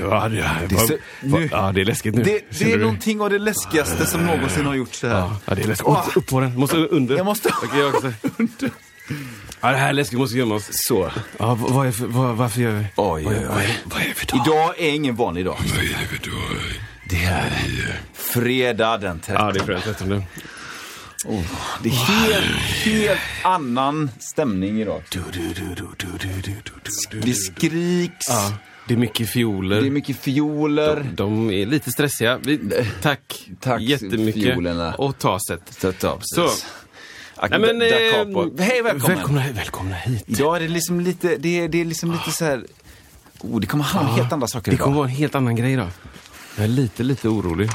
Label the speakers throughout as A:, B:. A: Ja, det,
B: Det är så-
A: nu. ja, det är läskigt nu.
B: Det,
A: Känner
B: det är
A: du?
B: någonting av det läskigaste som någonsin har gjorts så här. Ah,
A: Ja, det är läskigt. Upp, upp på den. Måste under.
B: Jag måste-
A: Okej, jag också. Ja, det här är läskigt. Måste gömma oss.
B: Så.
A: Ja, v- vad är för, vad, varför gör vi?
B: Oj,
A: Vad är-
B: oj,
A: Vad är,
B: oj.
A: vad är det för dag?
B: Idag är ingen vanlig dag.
A: Det här.
B: Fredag den 13.
A: Ja, det är fredag den 13.
B: Det är helt, helt annan stämning idag. Det skriks,
A: Ja, det är mycket fioler.
B: det är mycket fioler.
A: De är lite stressiga. Vi, tack,
B: Tack,
A: jättemycket.
B: fiolerna.
A: Och taset.
B: Så.
A: Så. Nej, men, eh,
B: Hej, välkommen.
A: Välkomna, hit, välkomna hit.
B: Idag är det liksom lite, det är, det är liksom lite så här... Oh, det kommer handla om helt andra saker
A: Det kommer
B: idag.
A: vara en helt annan grej idag. Jag är lite, lite orolig.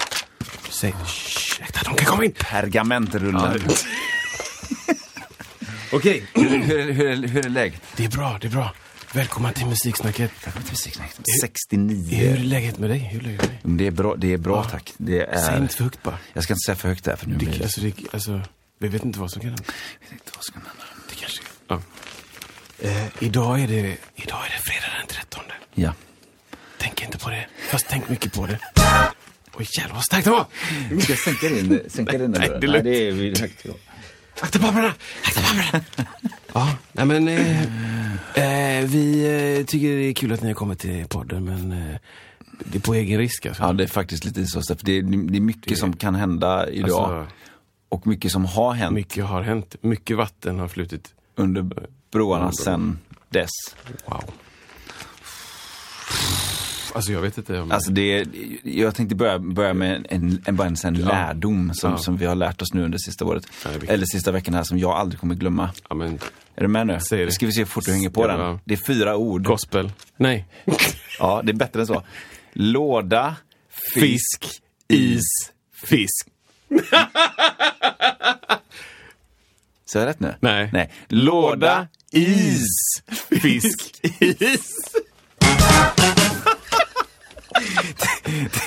A: Säg, Shh, äkta, de kan komma in.
B: Pergamentrullar.
A: Okej.
B: hur, är- hur, är- hur är läget?
A: Det är bra, det är bra. Välkomna till musiksnacket. Hur
B: 69.
A: är läget med dig? Hur är läget med dig?
B: Men Mm, Det är bra, det är bra tack. Det
A: Säg
B: är...
A: inte för högt bara.
B: Jag ska inte säga för högt där för nu blir
A: Det,
B: det...
A: alltså, det, alltså, vi vet inte vad som kan hända.
B: Jag vet inte vad som händer.
A: Det kanske... Ja. Eh, idag, är det, idag är det fredag den 13.
B: Ja.
A: Tänk inte på det. Fast tänk mycket på det. Oj jävlar vad starkt det var!
B: Ska jag sänka din, sänka din
A: Nej, det är lugnt.
B: det är vi- högt idag.
A: Akta papperna! Akta papperna! ja, nej men... Eh, eh, vi eh, tycker det är kul att ni har kommit till podden men eh, det är på egen risk alltså.
B: Ja, det är faktiskt lite så. Steph. Det är, det är mycket som kan hända idag.
A: Alltså-
B: och mycket som har hänt
A: Mycket har hänt. Mycket vatten har flutit.
B: under broarna sen dess.
A: Wow. Alltså jag vet inte om...
B: Alltså det, är- jag tänkte börja, börja med en, en, bara en, en lärdom som, som vi har lärt oss nu under sista året.
A: Ja, det är viktigt.
B: Eller sista veckan här som jag aldrig kommer glömma.
A: ja, men,
B: Är du med nu?
A: Säg det.
B: Nu ska vi se hur fort du hänger på
A: Ja,
B: den.
A: ja.
B: Det är fyra ord.
A: gospel. Nej.
B: Ja, det är bättre än så. Låda, fisk, is, fisk. Så jag rätt nu?
A: Nej.
B: Nej. Låda, is, fisk, is.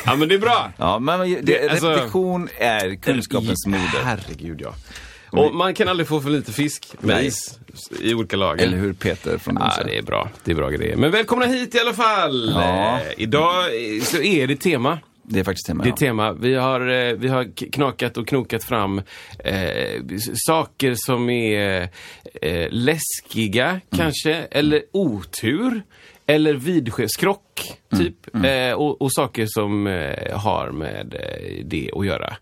A: Ja men det är bra!
B: Ja, men det,
A: Det- alltså-
B: repetition är kunskapens moder.
A: Herregud ja. Och man kan aldrig få för lite fisk med
B: Nej.
A: is i olika lager.
B: Eller hur Peter från
A: Ja,
B: Donsö?
A: det är bra. Det är bra grejer. Men välkomna hit i alla fall!
B: Ja.
A: Eh, Idag eh, så är det tema.
B: Det är faktiskt tema.
A: Det är
B: ja.
A: tema. Vi har, eh, vi har k- knakat och knokat fram eh, s- saker som är eh, läskiga kanske, eller otur, eller vidskepskrock typ. Eh, och, och saker som eh, har med eh, det att göra.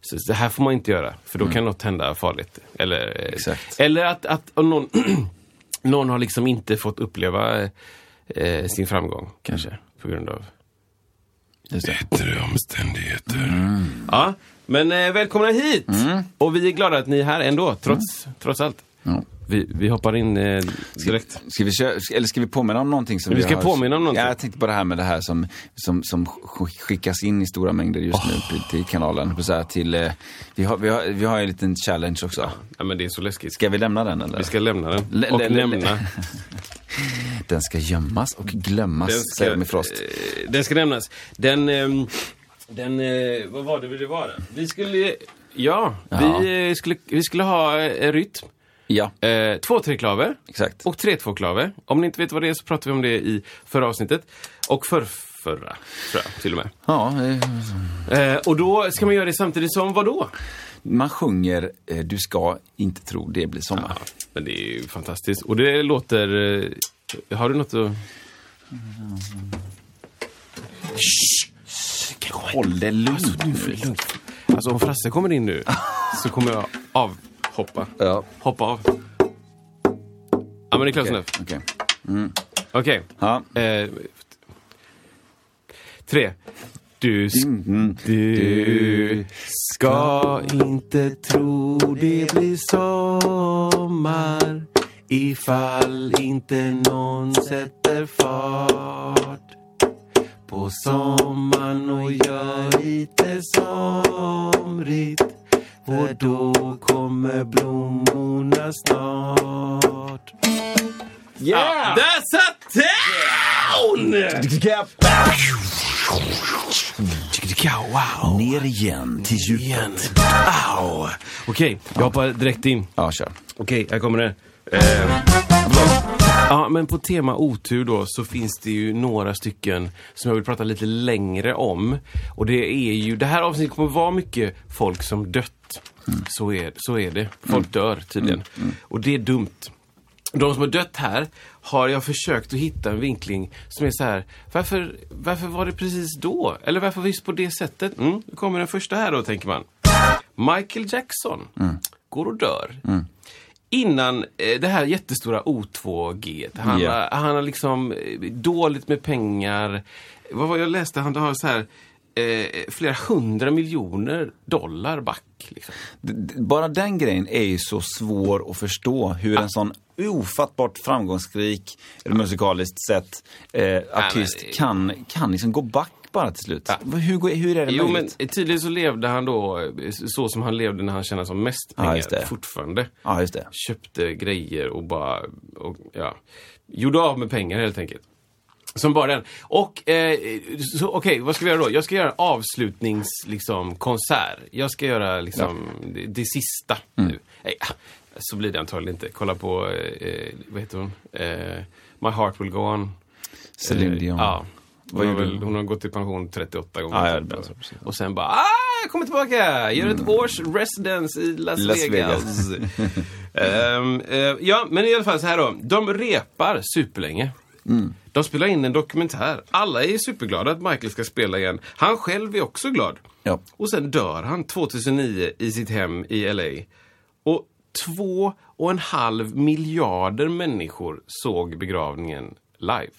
A: Så det här får man inte göra, för då kan något hända farligt. Eller, eh,
B: Exakt.
A: eller att, att om någon, någon har liksom inte fått uppleva eh, sin framgång kanske, på grund av
B: Just det.
A: Bättre omständigheter. Mm. Ja, men eh, välkomna hit! Och vi är glada att ni är här ändå, trots, trots allt.
B: Mm. Ja.
A: Vi, vi hoppar in eh, direkt.
B: Ska vi köra, ska- eller ska vi påminna om någonting? Som
A: Vi ska
B: har...
A: påminna om någonting.
B: Ja, jag tänkte på det här med det här som, som, som sk- skickas in i stora mängder just nu till- till kanalen. Så här, till, eh, vi, har, vi, har, vi har en liten challenge också.
A: Ja, men det är så läskigt.
B: Ska vi lämna den eller?
A: Vi ska lämna den.
B: Le-
A: och
B: le- le-
A: nämna.
B: Den ska gömmas och glömmas,
A: Den ska-
B: säger de i Frost.
A: eh, den ska nämnas. Den, ehm, den eh, vad var det vi- det var? där? Vi skulle, ja,
B: Ja.
A: Vi, eh, skulle, vi skulle ha eh, rytm.
B: Ja,
A: Eh, två treklaver.
B: exakt.
A: Och tre tvåklaver. Om ni inte vet vad det är så pratar vi om det i förra avsnittet. Och förrförra, tror jag, till och med.
B: Ja, eh,
A: Eh, och då ska man göra det samtidigt som vad då?
B: man sjunger eh, Du ska inte tro det blir sommar.
A: Men det är ju fantastiskt. Och det låter... Eh, har du något att... Shh!
B: håll det lugnt
A: Nu får det lugnt. Alltså om Frasse kommer in nu så kommer jag avhoppa.
B: Ja.
A: Hoppa av. Ja men det är close enough.
B: Okej.
A: Okej.
B: Ja.
A: Eh, tre. Du, sk- Mhm. du ska inte tro det blir sommar ifall inte någon sätter fart på sommaren och gör lite somrigt för då kommer blommorna snart Yeah! That's a town! Wow.
B: Ner igen till djupet.
A: Igen. Wow. Okej, jag hoppar direkt in.
B: Ja, kör.
A: Okej, här kommer det. Eh, ja, men på tema otur då så finns det ju några stycken som jag vill prata lite längre om. Och det är ju, det här avsnittet kommer vara mycket folk som dött. Så, är, så är det. Folk dör tydligen. Och det är dumt. De som har dött här har jag försökt att hitta en vinkling som är så här. Varför, varför var det precis då? Eller varför visst på det sättet? Mm, nu kommer den första här då, tänker man. Michael Jackson går och dör. Innan eh, det här jättestora O2G. Han,
B: Ja.
A: har, han har liksom eh, dåligt med pengar. Vad var jag läste? Han har så här eh, flera hundra miljoner dollar back. Liksom.
B: D- d- Bara den grejen är ju så svår att förstå hur en sån ofattbart framgångsrik, musikaliskt sett, eh, artist
A: men-
B: kan, kan liksom gå back bara till slut. Vad- Hur, går- hur är det
A: Jo, men
B: möjligt?
A: tydligen så levde han då eh, så som han levde när han tjänade som mest
B: Ja,
A: pengar
B: just det.
A: fortfarande.
B: Ja, just det.
A: Köpte grejer och bara, och, ja, gjorde av med pengar helt enkelt. Som bara den. Och, eh, så, okej, vad ska vi göra då? Jag ska göra en avslutningskonsert. Liksom, konsert. jag ska göra liksom, det, det sista
B: Mm.
A: nu. Nej, ah, så blir det antagligen inte. Kolla på, eh, vad heter hon? Eh, My heart will go on.
B: Celine
A: Eh,
B: Dion.
A: Ja.
B: Vad
A: Hon har,
B: gjorde
A: väl,
B: hon? Ah,
A: hon har gått i pension 38 gånger.
B: Ja, ja,
A: typ.
B: det är så, precis.
A: och sen bara, ah, jag kommer tillbaka! Gör ett års residence i Las,
B: Las
A: Vegas. Ehm, eh, ja, men i alla fall så här då. De repar superlänge.
B: Mm.
A: De spelar in en dokumentär. Alla är superglada att Michael ska spela igen. Han själv är också glad.
B: Ja.
A: Och sen dör han 2009 i sitt hem i LA. Och två och en halv miljarder människor såg begravningen live.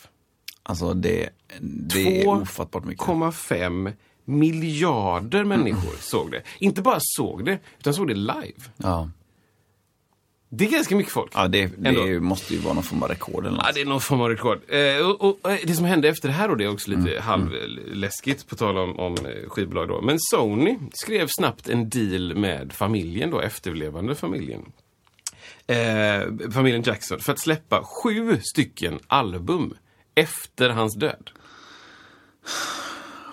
B: Alltså det, det är ofattbart mycket.
A: 2,5 miljarder människor såg det. Inte bara såg det, utan såg det live.
B: Ja.
A: Det är ganska mycket folk.
B: Ja, det, det
A: Ändå.
B: är ju, måste ju vara någon form av rekord eller
A: Ja,
B: något.
A: det är någon form av rekord. Eh, och, och, eh, det som hände efter det här då, det är också lite halvläskigt på tal om, om eh, skivbolag då. Men Sony skrev snabbt en deal med familjen då, efterlevande familjen. Eh, familjen Jackson, för att släppa sju stycken album efter hans död.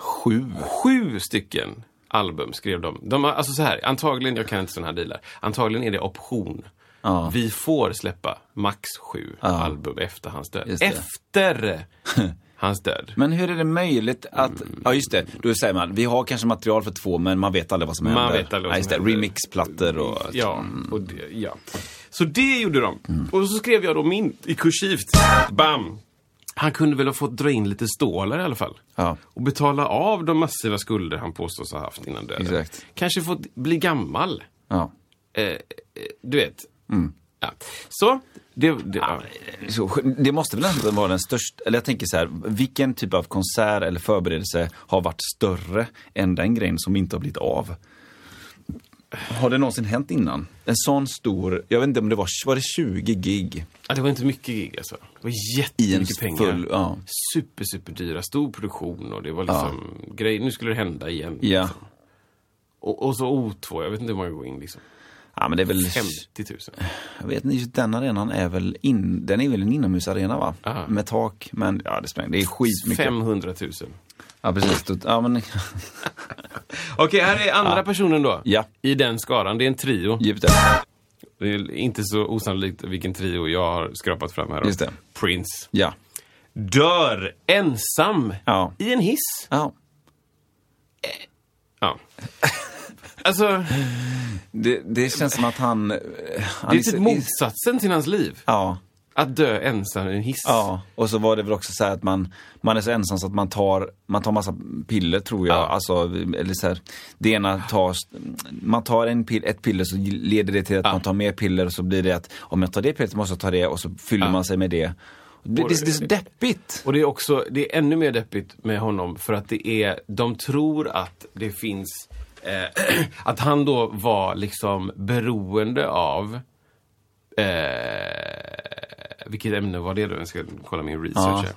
B: Sju.
A: Sju stycken album skrev de. de har, alltså så här, antagligen, jag kan inte sådana här dealar, antagligen är det option.
B: Ja.
A: Vi får släppa max sju album efter hans död.
B: Just det.
A: Efter hans död.
B: Men hur är det möjligt att...
A: Mm.
B: Ja, just det. Då säger man, vi har kanske material för två, men man vet aldrig vad som
A: Man
B: händer.
A: vet aldrig vad
B: ja, just
A: som
B: det.
A: händer.
B: Remixplattor och...
A: Ja, och det, ja. Så det gjorde de.
B: Mm.
A: Och så skrev jag då min i kursivt. Bam! Han kunde väl ha fått dra in lite stålar i alla fall.
B: Ja.
A: Och betala av de massiva skulder han påstås ha haft innan döden.
B: Exakt.
A: Kanske fått bli gammal.
B: Ja.
A: Eh, eh, du vet.
B: Mm.
A: Ja. Så, det... det ja.
B: Så, det måste väl ändå vara den största, eller jag tänker så här, vilken typ av konsert eller förberedelse har varit större än den grejen som inte har blivit av? Har det någonsin hänt innan? En sån stor, jag vet inte om det var, var det 20 gig?
A: Ja, Ah, det var inte mycket gig alltså. Det var
B: I
A: jättemycket
B: en
A: pengar.
B: full- ja.
A: Super, super dyra. Stor produktion och det var liksom grej. Nu skulle det hända igen.
B: Ja.
A: Och, och så O2, jag vet inte hur många går in liksom.
B: Ja men det är väl,
A: 50 000.
B: jag vet inte, just den arenan är väl, in, den är väl en inomhusarena va?
A: Ja.
B: Med tak, men ja det spelar det är skitmycket.
A: 500 000.
B: Ja precis, Då- ja men,
A: Okej, här är andra personen då.
B: Ja.
A: I den skaran. Det är en trio.
B: djupt där.
A: Det är inte så osannolikt vilken trio jag har skrapat fram här. då.
B: Just det.
A: Prince.
B: Ja.
A: Dör ensam
B: Ja.
A: i en hiss.
B: ja.
A: Ja. Alltså,
B: Det, det känns som att han... eh, han
A: det är
B: så-
A: typ motsatsen typ till hans liv.
B: Ja.
A: Att dö ensam i en hiss.
B: Ja, och så var det väl också så här att man, man är så ensam så att man tar, man tar massa piller tror jag.
A: Ja.
B: Alltså, eller så här, det ena tar, man tar en pill, ett piller så leder det till att man tar mer piller och så blir det att om jag tar det pillret så måste jag ta det och så fyller man sig med det. Det, det, det är så deppigt.
A: Och det är också, det är ännu mer deppigt med honom för att det är, de tror att det finns, eh, att han då var liksom beroende av, eh, vilket ämne var det då? Jag ska kolla min research här.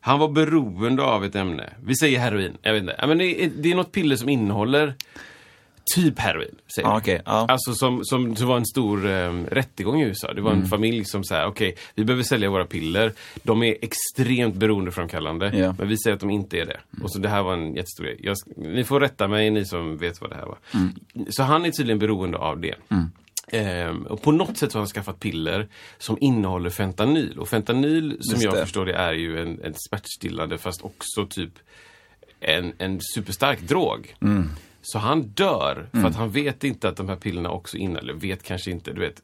A: Han var beroende av ett ämne. Vi säger heroin. Jag vet inte. Ja, Men det, är, det är något piller som innehåller typ heroin. Säger
B: Ja,
A: vi.
B: okej, ja.
A: Alltså som, som det var en stor eh, rättegång i USA. Det var
B: Mm.
A: en familj som sa, okej, vi behöver sälja våra piller. De är extremt beroendeframkallande.
B: Ja. Mm.
A: Men vi säger att de inte är det. Och så det här var en jättestor grej. Jag, sk- ni får rätta mig, ni som vet vad det här var.
B: Mm.
A: Så han är tydligen beroende av det. Ehm, och på något sätt så har han skaffat piller som innehåller fentanyl. Och fentanyl, som
B: Just
A: jag
B: det.
A: förstår det, är ju en, en smärtstillande fast också typ en, en superstark drog.
B: Mm.
A: Så han dör för att han vet inte att de här pillerna också innehåller, eller vet kanske inte, du vet.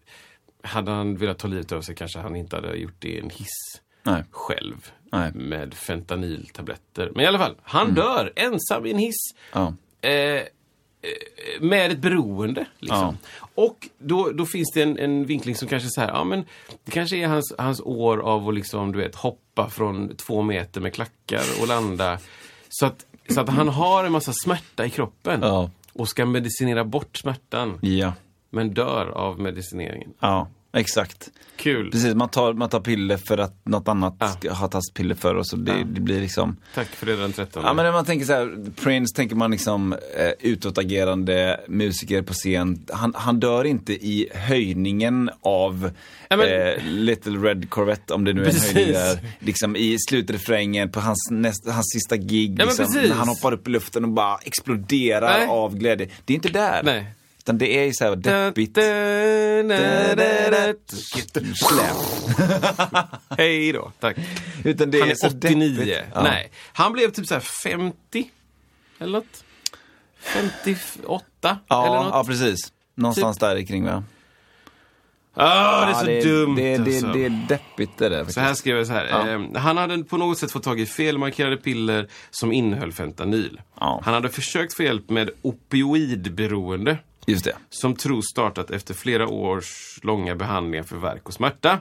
A: Hade han velat ta livet av sig kanske han inte hade gjort det i en hiss
B: Nej.
A: själv
B: Nej. Mm.
A: med fentanyltabletter. Men i alla fall, han dör ensam i en hiss
B: Ja.
A: eh, eh, med ett beroende. Liksom. Och då, då finns det en, en vinkling som kanske är så här, ja men det kanske är hans, hans år av att liksom, du vet, hoppa från två meter med klackar och landa. Så att, så att han har en massa smärta i kroppen
B: Ja.
A: och ska medicinera bort smärtan.
B: Ja.
A: Men dör av medicineringen.
B: ja, exakt.
A: Kul!
B: Precis, man tar, man tar piller för att något annat
A: Ja.
B: ska- har tagits piller för och så det, det blir liksom
A: Tack för det den 13.
B: Ja men när man tänker så här, Prince tänker man liksom eh, utåtagerande musiker på scen. Han, han dör inte i höjningen av
A: Ja, men-
B: eh, Little Red Corvette om det nu är
A: Precis.
B: en höjning där. Liksom i slutrefrängen på hans, näst, hans sista gig.
A: Ja, men
B: liksom,
A: precis.
B: när han hoppar upp i luften och bara exploderar
A: Nej.
B: av glädje. Det är inte där.
A: Nej.
B: Utan det är ju så här deppigt.
A: Hej då. Tack.
B: Utan det
A: han
B: så
A: är 89.
B: deppigt. Ja.
A: Nej, han blev typ så här 50 eller något. 58 eller
B: Ja,
A: något.
B: ja, precis. Någonstans där kring va?
A: Ah, det är
B: Ja,
A: så
B: det,
A: dumt
B: det, det,
A: alltså.
B: det är deppigt det där.
A: Så här skrev jag så här. ehm, han hade på något sätt fått tag i felmarkerade piller som innehöll fentanyl.
B: Ja.
A: Han hade försökt få hjälp med opioidberoende.
B: Just det.
A: som tros startat efter flera års långa behandlingar för värk och smärta.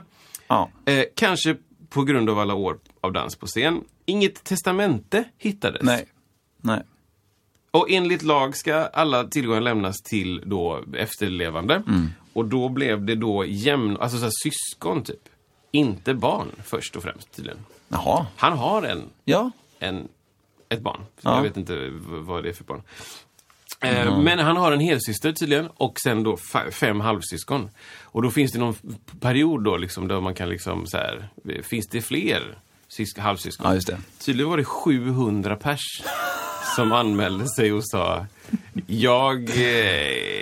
B: Ja.
A: Eh, kanske på grund av alla år av dans på scen. Inget testamente hittades.
B: Nej. Nej.
A: Och enligt lag ska alla tillgångar lämnas till då efterlevande. Och då blev det då jämn, alltså så här, syskon typ. Inte barn först och främst tydligen.
B: Jaha.
A: Han har en,
B: Ja.
A: en, ett barn.
B: Ja. Mm,
A: Jag vet inte v- vad det är för barn. Eh, Men han har en helsyster tydligen och sen då fa- fem halvsyskon. Och då finns det någon f- period då liksom där man kan liksom så här, eh, finns det fler sysk- halvsyskon?
B: Ja, just det.
A: Tydligen var det 700 pers som anmälde sig och sa jag eh,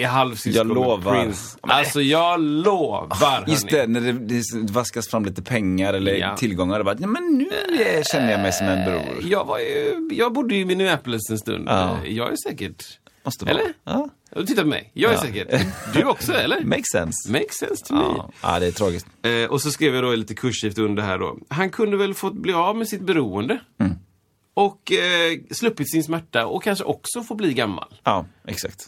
A: är halvsyskon
B: Jag
A: med
B: lovar." Ah,
A: Prince. Alltså jag lovar
B: Just
A: hörni.
B: det, när det, det vaskas fram lite pengar eller
A: Ja.
B: tillgångar. Och bara, Nej, men nu eh, känner jag mig som en bror.
A: Eh, Jag, var ju, jag bodde ju i Minneapolis en stund. Eh,
B: Ja.
A: Jag är säkert...
B: Måste vara.
A: Eller?
B: Ja.
A: Titta på mig. Jag är säkert. Du också, eller?
B: Makes sense.
A: Makes sense to me.
B: Ja. ja, det är tragiskt.
A: Eh, och så skrev jag då lite kursivt under här då. Han kunde väl fått bli av med sitt beroende.
B: Mm.
A: Och eh, sluppit sin smärta och kanske också få bli gammal.
B: Ja, exakt.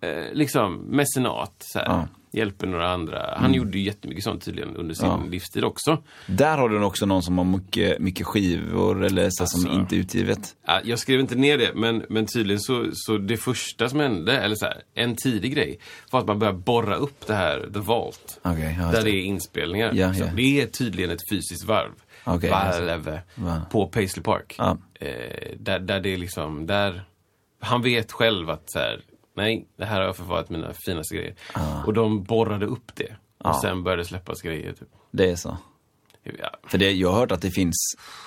A: Eh, liksom mecenat, så här.
B: Ja. Mm.
A: Hjälper några andra. Han gjorde ju jättemycket sånt tydligen under sin livstid också.
B: Där har du också någon som har mycket, mycket skivor eller så som
A: Alltså.
B: inte är utgivet.
A: Ja, Jag skrev inte ner det, men, men tydligen så, så det första som hände, eller så här, en tidig grej, var att man började borra upp det här, The Vault.
B: Okej, ja, just
A: där
B: det.
A: det är inspelningar.
B: Ja,
A: så
B: ja.
A: Det är tydligen ett fysiskt varv.
B: Okej,
A: varv På Paisley Park.
B: Ja.
A: Eh, där, där det är liksom, där... Han vet själv att så här, nej, det här har jag förvarat mina finaste grejer.
B: Ah.
A: Och de borrade upp det. Och sen började det släppas grejer. Typ.
B: Det är så.
A: Ja.
B: För det, jag har hört att det finns,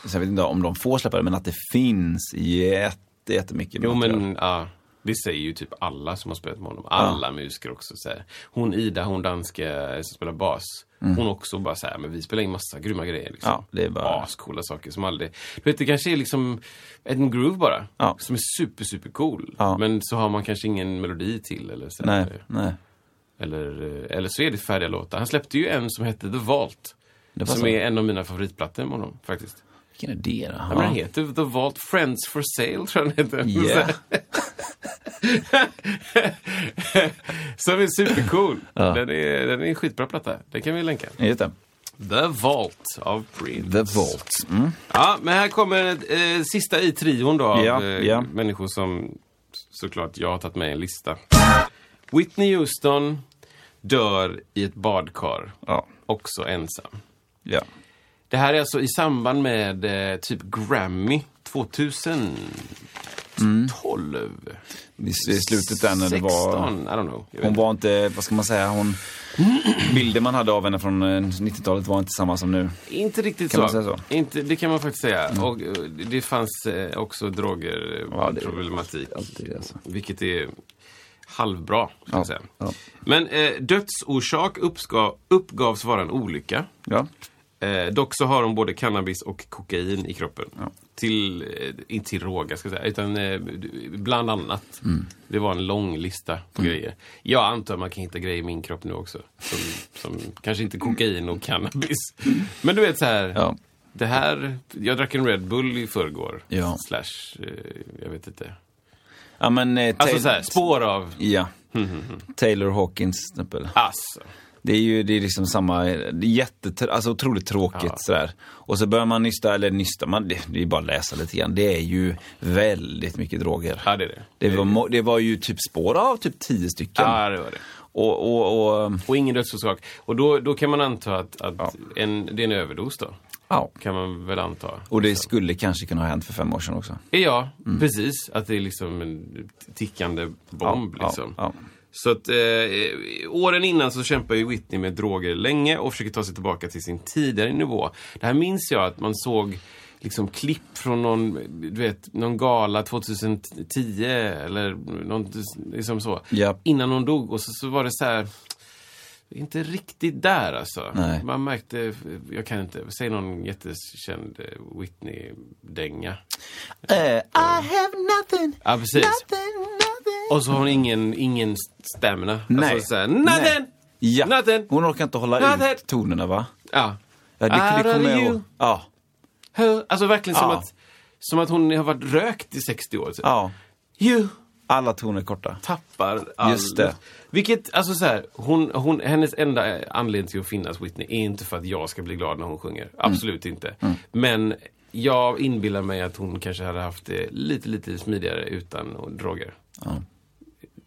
B: så jag vet inte om de får släppa det, men att det finns jätte, jättemycket
A: Jo
B: material.
A: men ja, det säger ju typ alla som har spelat med honom. Alla musiker också. Så här. Hon Ida, hon danska som spelar bas. Hon också bara så här, men vi spelar in massa grymma grejer. Liksom.
B: Mm. Ja, det är bara-
A: Ascoola saker som aldrig... Du vet, det kanske är liksom en groove bara.
B: Ja.
A: Som är super, super cool.
B: Ja.
A: Men så har man kanske ingen melodi till eller så. här. eh,
B: Nej, nej.
A: Eller, eller så är det färdiga låtar. Han släppte ju en som hette The Vault.
B: Det var
A: som
B: så.
A: är en av mina favoritplattor med honom faktiskt.
B: Vilken idé då?
A: Ja. Men den heter The Vault Friends for Sale, tror jag den heter.
B: Yeah.
A: som är supercool. Den, är, den är en skitbra platta. Den kan vi länka.
B: Just det.
A: The Vault av Prince.
B: The Vault. Mm.
A: Ja, men här kommer eh, sista i trion då av
B: Ja,
A: eh,
B: ja.
A: människor som såklart jag har tagit med i en lista. Whitney Houston dör i ett badkar,
B: Ja.
A: också ensam.
B: ja.
A: Det här är alltså i samband med eh, typ Grammy 2012.
B: I, I slutet där när det
A: 16,
B: var...
A: I don't know. Jag vet
B: Hon
A: inte.
B: var inte, vad ska man säga, hon... Bilden man hade av henne från eh, 90-talet var inte samma som nu.
A: Inte riktigt
B: Kan
A: så.
B: man säga Mm.
A: Inte, det kan man faktiskt säga. Och eh, det fanns eh, också droger, eh,
B: Ja, det-
A: problematik.
B: alltid, alltså.
A: Vilket är halvbra, ska jag
B: Ja,
A: säga.
B: ja.
A: Men eh, dödsorsak uppska, uppgavs vara en olycka.
B: Ja.
A: Eh, dock så har de både cannabis och kokain i kroppen. Till, eh, inte till råga ska jag säga, utan eh, bland annat. Det var en lång lista på grejer. Jag antar man kan hitta grejer i min kropp nu också. Som, som kanske inte kokain och cannabis. Men du vet så här.
B: Ja.
A: Det här, jag drack en Red Bull i förrgår.
B: Ja.
A: Slash, eh, jag vet inte.
B: Ja men... Eh,
A: Alltså
B: Tay-
A: så här, Mm, spår av
B: Ja. Taylor Hawkins till exempel.
A: ass.
B: Det är ju det är liksom samma, det är jätte, alltså otroligt tråkigt
A: Ja.
B: sådär. Och så börjar man nysta, eller nysta, man, det, det är bara att läsa lite grann. Det är ju väldigt mycket droger.
A: Ja, det är det.
B: Det var, mo- det var ju typ spår av typ tio stycken.
A: Ja, det var det.
B: Och, och, och,
A: Och ingen dödsorsak. Och då, då kan man anta att, att en, det är en överdos då.
B: ja.
A: Kan man väl anta.
B: och det skulle kanske kunna ha hänt för fem år sedan också.
A: Ja,
B: Mm.
A: precis. Att det är liksom en tickande bomb.
B: Ja,
A: liksom.
B: ja, ja.
A: Så att eh, åren innan så kämpar ju Whitney med droger länge och försöker ta sig tillbaka till sin tidigare nivå. Det här minns jag att man såg liksom klipp från någon, du vet, någon gala 2010 eller någon, liksom så.
B: Japp.
A: Innan hon dog och så, så var det så här inte riktigt där alltså.
B: Nej.
A: Man märkte, jag kan inte, säg någon jättekänd eh, Whitney-dänga.
B: Eh, I have nothing,
A: Ja, precis.
B: nothing, nothing.
A: Och så har hon ingen, ingen stamina.
B: Nej.
A: Alltså såhär, nothing!
B: Nej. Ja.
A: Nothing!
B: Hon orkar inte hålla
A: Nothing.
B: ut tonerna va?
A: Ja.
B: Ja, det,
A: Out
B: det
A: of
B: kommer jag
A: you.
B: ihåg. Ja.
A: Huh. Alltså verkligen som,
B: Ja.
A: att, som att hon har varit rökt i 60 år. Så.
B: ja.
A: You
B: Alla toner är korta.
A: tappar all...
B: Just det.
A: Vilket, alltså så här, hon, hon, hennes enda eh, anledning till att finnas Whitney är inte för att jag ska bli glad när hon sjunger.
B: Mm.
A: Absolut inte. Men jag inbillar mig att hon kanske hade haft det lite, lite smidigare utan och droger.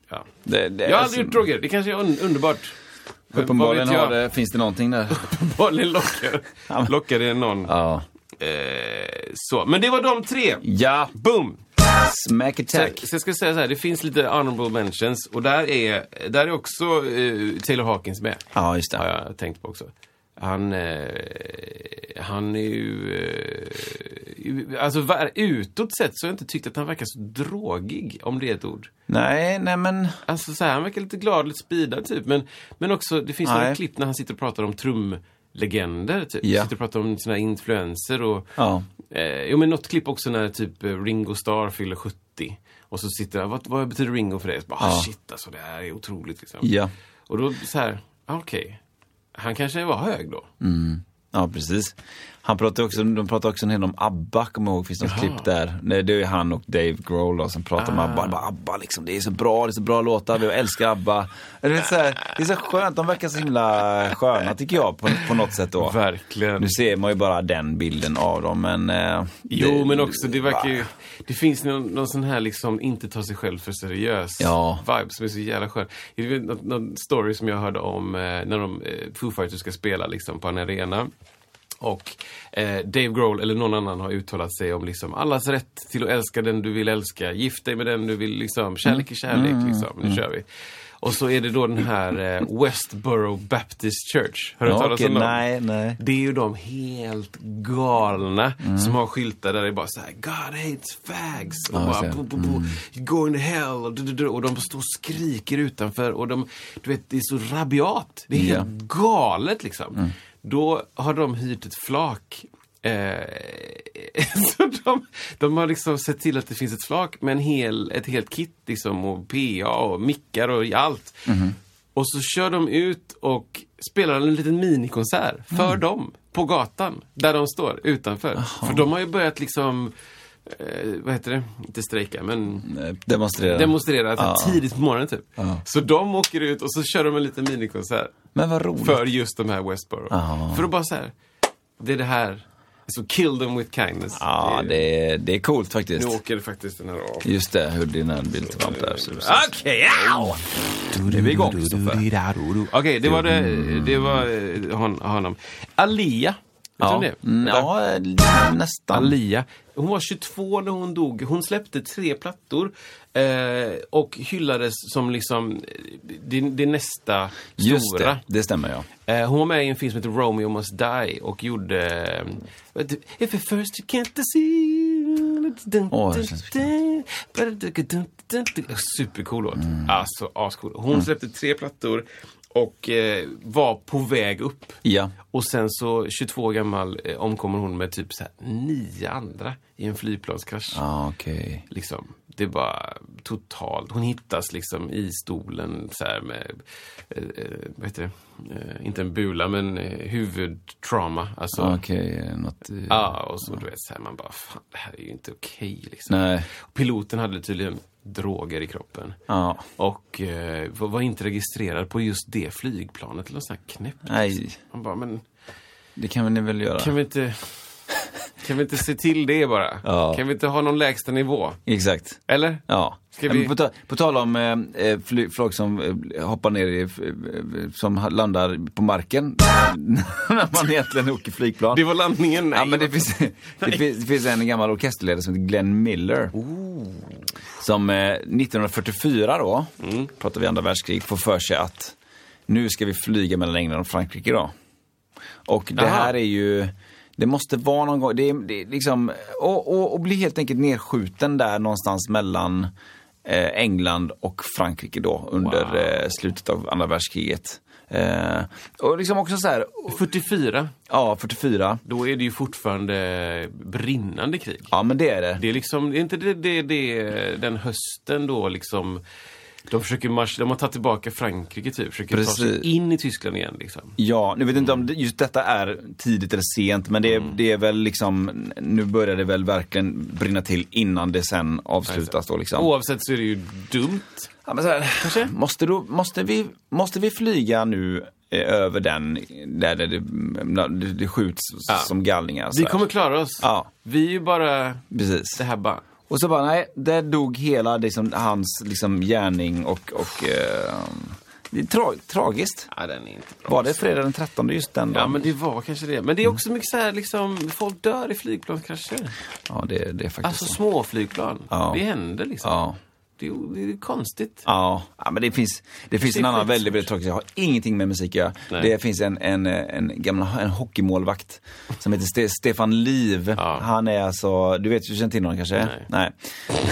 A: Ja.
B: Det, det, alltså-
A: Jag har aldrig gjort droger. Det kanske är un underbart. Vad
B: Uppenbarligen
A: vet jag?
B: har det, finns det någonting där.
A: Malin lockar, lockade någon.
B: ja.
A: Eh, så. Men det var de tre.
B: Ja,
A: Boom!
B: smack attack.
A: Så jag ska säga så här, det finns lite honorable mentions och där är, där är också eh, Taylor Hawkins med.
B: Ja, just det.
A: Har jag tänkt på också. Han, eh, han är ju... Eh, alltså var, utåt sett så har jag inte tyckt att han verkar så drogig, om det är ett ord.
B: Nej, nej men...
A: Alltså så här, han verkar lite glad, lite speedad typ. Men, men också, det finns
B: Nej.
A: några klipp när han sitter och pratar om trumlegender. Typ.
B: Ja.
A: Sitter och pratar om sina influenser och...
B: Ja.
A: Eh, jo men något klipp också när typ eh, Ringo Starr fyller 70. Och så sitter han, vad, vad betyder Ringo för dig? Så bara, ah,
B: Ja.
A: shit alltså det här är otroligt liksom.
B: Ja.
A: Och då så här, ah, okej. Han kanske var hög då.
B: Ja, precis. Han pratar också, de pratar också en hel del om ABBA, kommer jag ihåg. finns något klipp där. Nej, det är ju han och Dave Grohl då, som pratar
A: Ah.
B: om ABBA. Han Bara, ABBA liksom, det är så bra, det är så bra låtar, vi älskar ABBA. Det är, så här, det är så skönt, de verkar så himla sköna tycker jag på, på något sätt då.
A: Verkligen.
B: Nu ser man ju bara den bilden av dem, men... Eh,
A: Jo,
B: det-
A: men också det verkar ju... Det finns någon, någon sån här liksom inte ta sig själv för seriös
B: Ja.
A: vibe som är så jävla skön. Det var någon, någon story som jag hörde om eh, när de, eh, Foo Fighters ska spela liksom på en arena. Och eh, Dave Grohl eller någon annan har uttalat sig om liksom allas rätt till att älska den du vill älska. Gift dig med den du vill liksom. Kärlek är kärlek
B: Mm.
A: liksom. Nu kör vi. Och så är det då den här eh, Westboro Baptist Church. Har du hört
B: Ja,
A: talas
B: okej,
A: om dem?
B: nej, nej. Mm.
A: Det är ju de helt galna som har skyltar där det är bara så här God hates fags. Och bara,
B: Ja, jag ser. Mm.
A: bo, bo, bo, Go in hell. Och, du, du, du. och de står och skriker utanför. Och de, du vet, det är så rabiat. Det är
B: Ja.
A: helt galet liksom.
B: Mm.
A: Då har de hyrt ett flak. Eh, så de, de har liksom sett till att det finns ett flak med en hel, ett helt kit liksom och PA och mickar och allt.
B: Mm-hmm. Mm.
A: Och så kör de ut och spelar en liten minikonsert för dem på gatan där de står utanför. För de har ju börjat liksom, eh, vad heter det, inte strejka men
B: Eh, Demonstrera.
A: demonstrera alltså,
B: Ja.
A: tidigt på morgonen typ.
B: Ja.
A: Så de åker ut och så kör de en liten minikonsert
B: Men vad roligt.
A: för just de här Westboro.
B: Ja.
A: För att bara så här, det är det här, så kill them with kindness.
B: Ja,
A: Det är-
B: det är, det är coolt faktiskt.
A: Nu åker faktiskt den här av.
B: Just det, hur din bild var där. Så- så-
A: Okej, au!
B: Nu är vi igång, Kristoffer.
A: Okej, det var det,
B: Mm.
A: det var eh, hon, honom. Alia, vet du
B: Ja,
A: vem det är?
B: mm, ja, eh, nästan.
A: Alia. Hon var 22 när hon dog. Hon släppte tre plattor eh, och hyllades som liksom eh, det, det nästa
B: Just
A: stora.
B: det, det stämmer ja.
A: Eh, hon var med i en film som heter Romeo Must Die och gjorde... eh, vet du, If at first you can't see...
B: Åh, det känns
A: Supercool låt.
B: Mm.
A: Alltså ascool. Hon släppte tre plattor och eh, var på väg upp.
B: Ja.
A: Och sen så 22 år gammal eh, omkommer hon med typ så här, nio andra i en flygplanskrasch.
B: Ah, okej.
A: Liksom, det är bara totalt. Hon hittas liksom i stolen så här med, eh, eh, vad heter det, eh, inte en bula men eh, huvudtrauma. Alltså,
B: Ah, Okej, eh, något... eh,
A: ja, och så du vet så här, man bara, fan det här är ju inte okej liksom.
B: Nej.
A: Piloten hade tydligen droger i kroppen.
B: Ja.
A: Och eh, var var inte registrerad på just det flygplanet. Det var sån här knäppt.
B: Nej,
A: Man bara, men
B: det kan väl ni väl göra?
A: kan vi inte, kan vi inte se till det bara?
B: Ja.
A: Kan vi inte ha någon lägsta nivå?
B: Exakt.
A: Eller?
B: Ja.
A: Ska
B: Ja, men
A: vi-
B: På, ta- på tal om eh, eh, fly- folk som eh, hoppar ner i, f- eh, som ha- landar på marken när man egentligen åker flygplan.
A: Det var landningen. Nej,
B: ja, men det, finns, det, finns, det finns en gammal orkesterledare som heter Glenn Miller.
A: Oh.
B: Som eh, 1944 då, pratar vi andra världskrig, får för sig att nu ska vi flyga mellan England och Frankrike då. Och det
A: Aha.
B: här är ju, det måste vara någon gång, det är, det är liksom, och, och, och bli helt enkelt nedskjuten där någonstans mellan eh, England och Frankrike då under
A: Wow.
B: eh, slutet av andra världskriget. Eh, och liksom också så här,
A: 44,
B: ja 44,
A: då är det ju fortfarande brinnande krig.
B: ja men det är det.
A: Det är liksom, det är inte det, det, det den hösten då liksom de försöker marsch, de har tagit tillbaka Frankrike typ, försöker ta
B: Precis.
A: sig in i Tyskland igen liksom.
B: Ja, nu vet jag inte om det-
A: Mm.
B: just detta är tidigt eller sent men det, är- det är väl liksom, nu börjar det väl verkligen brinna till innan det sen avslutas då liksom.
A: Oavsett så är det ju dumt.
B: Ja, men så här, måste, då, måste, vi, måste vi flyga nu eh, över den där det, det, det skjuts som galningar? så
A: Vi
B: här?
A: kommer klara oss.
B: Ja.
A: Vi är ju bara
B: Precis.
A: det här bara.
B: Och så bara, nej, där dog hela liksom, hans liksom, gärning och... och eh, det är tra, tragiskt.
A: Ja, den är inte bra.
B: Var det fredag den 13 just den
A: Alltså- Ja
B: dagen?
A: men det var kanske det. Men det är också mycket så här liksom, folk dör i flygplanskrascher.
B: Ja, det, det är faktiskt
A: Alltså
B: så.
A: små flygplan.
B: Ja.
A: Det händer liksom.
B: Ja.
A: Det, är, det är konstigt.
B: Ja, ja men det finns, det finns
A: Det är
B: en annan
A: skitsvårt.
B: väldigt, väldigt tråkig, jag har ingenting med musik att göra.
A: Nej.
B: Det finns en, en, eh, en gammal en hockeymålvakt som heter Ste Stefan Liv.
A: Ja.
B: Han är alltså, du vet, du känner till honom kanske?
A: Nej.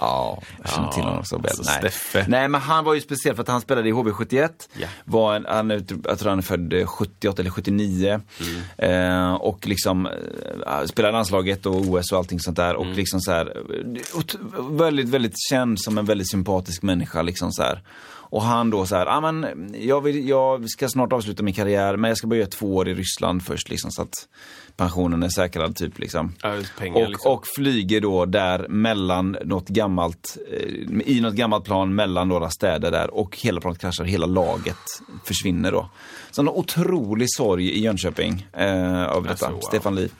B: ja, jag känner till honom också väl.
A: alltså,
B: Nej.
A: Steffe.
B: Nej, men han var ju speciell för att han spelade i HV71.
A: Ja.
B: Var en, han, är- jag tror han är född eh, 78 eller 79. Eh, och liksom eh, spelade i landslaget och OS och allting sånt där. Och liksom så här, eh, ot- väldigt, väldigt känd som en väldigt sympatisk människa. Liksom så här. Och han då så här, ah, men jag, vill, jag ska snart avsluta min karriär men jag ska börja göra två år i Ryssland först liksom så att pensionen är säkrad typ liksom.
A: Ja, pengar,
B: och,
A: liksom.
B: och flyger då där mellan något gammalt, eh, i något gammalt plan mellan några städer där och hela planet kraschar, hela laget försvinner då. Så en otrolig sorg i Jönköping eh, över detta.
A: Alltså, wow.
B: Stefan Liv.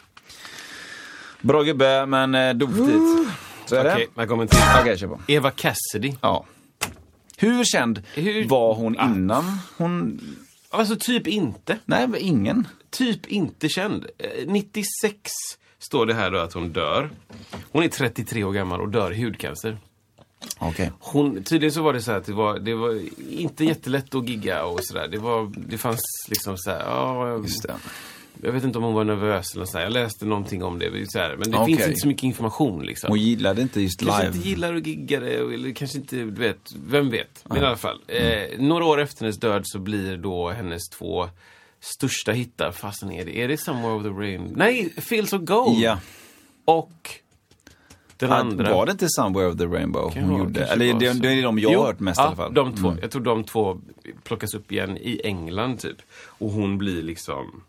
B: Bra gubbe men eh, dog för tidigt. Så är det.
A: Okej, här kommer till.
B: Okej, kör på.
A: Eva Cassidy.
B: Ja. Hur känd
A: Hur-
B: var hon innan hon...
A: Alltså typ inte.
B: Nej, ingen.
A: Typ inte känd. Eh, 96 står det här då att hon dör. Hon är 33 år gammal och dör i hudcancer.
B: Okej.
A: Hon, tydligen så var det så här att det var, det var inte jättelätt att gigga och sådär. Det, var- det fanns liksom så här, ja, jag-
B: Just det.
A: jag vet inte om hon var nervös eller så här. Jag läste någonting om det. Så här, men det
B: Okej.
A: finns inte så mycket information liksom.
B: Hon gillade inte just
A: Kanske
B: live.
A: inte gillar att gigga det, eller kanske inte, du vet, vem vet. Men i alla fall. Eh,
B: Mm.
A: några år efter hennes död så blir då hennes två största hittar, fastän är det, är det Somewhere Over the Rain? Nej, Feels of Gold!
B: Ja.
A: Och den
B: Att-
A: andra.
B: Var det inte Somewhere of the Rainbow
A: Kan
B: hon
A: vara,
B: gjorde?
A: kanske
B: Eller
A: var
B: det,
A: så.
B: det är de jag
A: Jo,
B: har hört mest
A: ja,
B: i alla fall. Mm.
A: De två. Jag tror de två plockas upp igen i England typ. Och hon blir liksom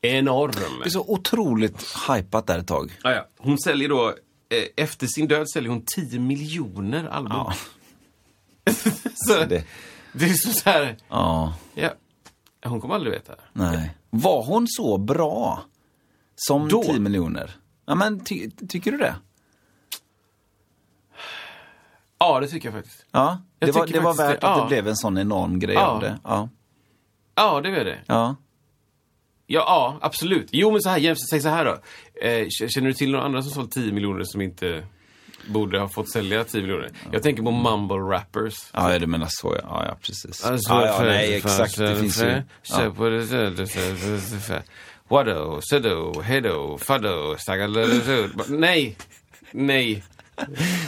A: enorm.
B: Det är så otroligt hypat där ett tag.
A: Ja, ja. Hon säljer då, eh, efter sin död säljer hon 10 miljoner album.
B: Ja.
A: så,
B: det-
A: det. är så, så här,
B: Ja,
A: ja. Hon kommer aldrig veta.
B: nej. Var hon så bra? Som
A: Då?
B: 10 miljoner? Ja, men ty, tycker du det?
A: Ja, det tycker jag faktiskt.
B: Ja,
A: Jag
B: det var,
A: tycker
B: det var
A: faktiskt
B: värt
A: det,
B: att
A: ja.
B: det blev en sån enorm grej
A: Ja.
B: av det. Ja,
A: Ja, det är det. Ja,
B: ja.
A: ja absolut. Jo, men så här, jämfört, säg så här då. Eh, k- känner du till några andra som sålt 10 miljoner som inte borde ha fått sälja 10 miljoner? Jag tänker på mumble rappers.
B: Ja, ja, du menar så ja. Ja, ja precis.
A: Alltså,
B: ja, ja,
A: för-
B: nej,
A: för-
B: exakt.
A: för-
B: Det finns
A: för-
B: ju.
A: så
B: Ja.
A: på det- så- det- så- så- så- så- Waddo, seddo, heddo, faddo, staggallo, Nej! Nej!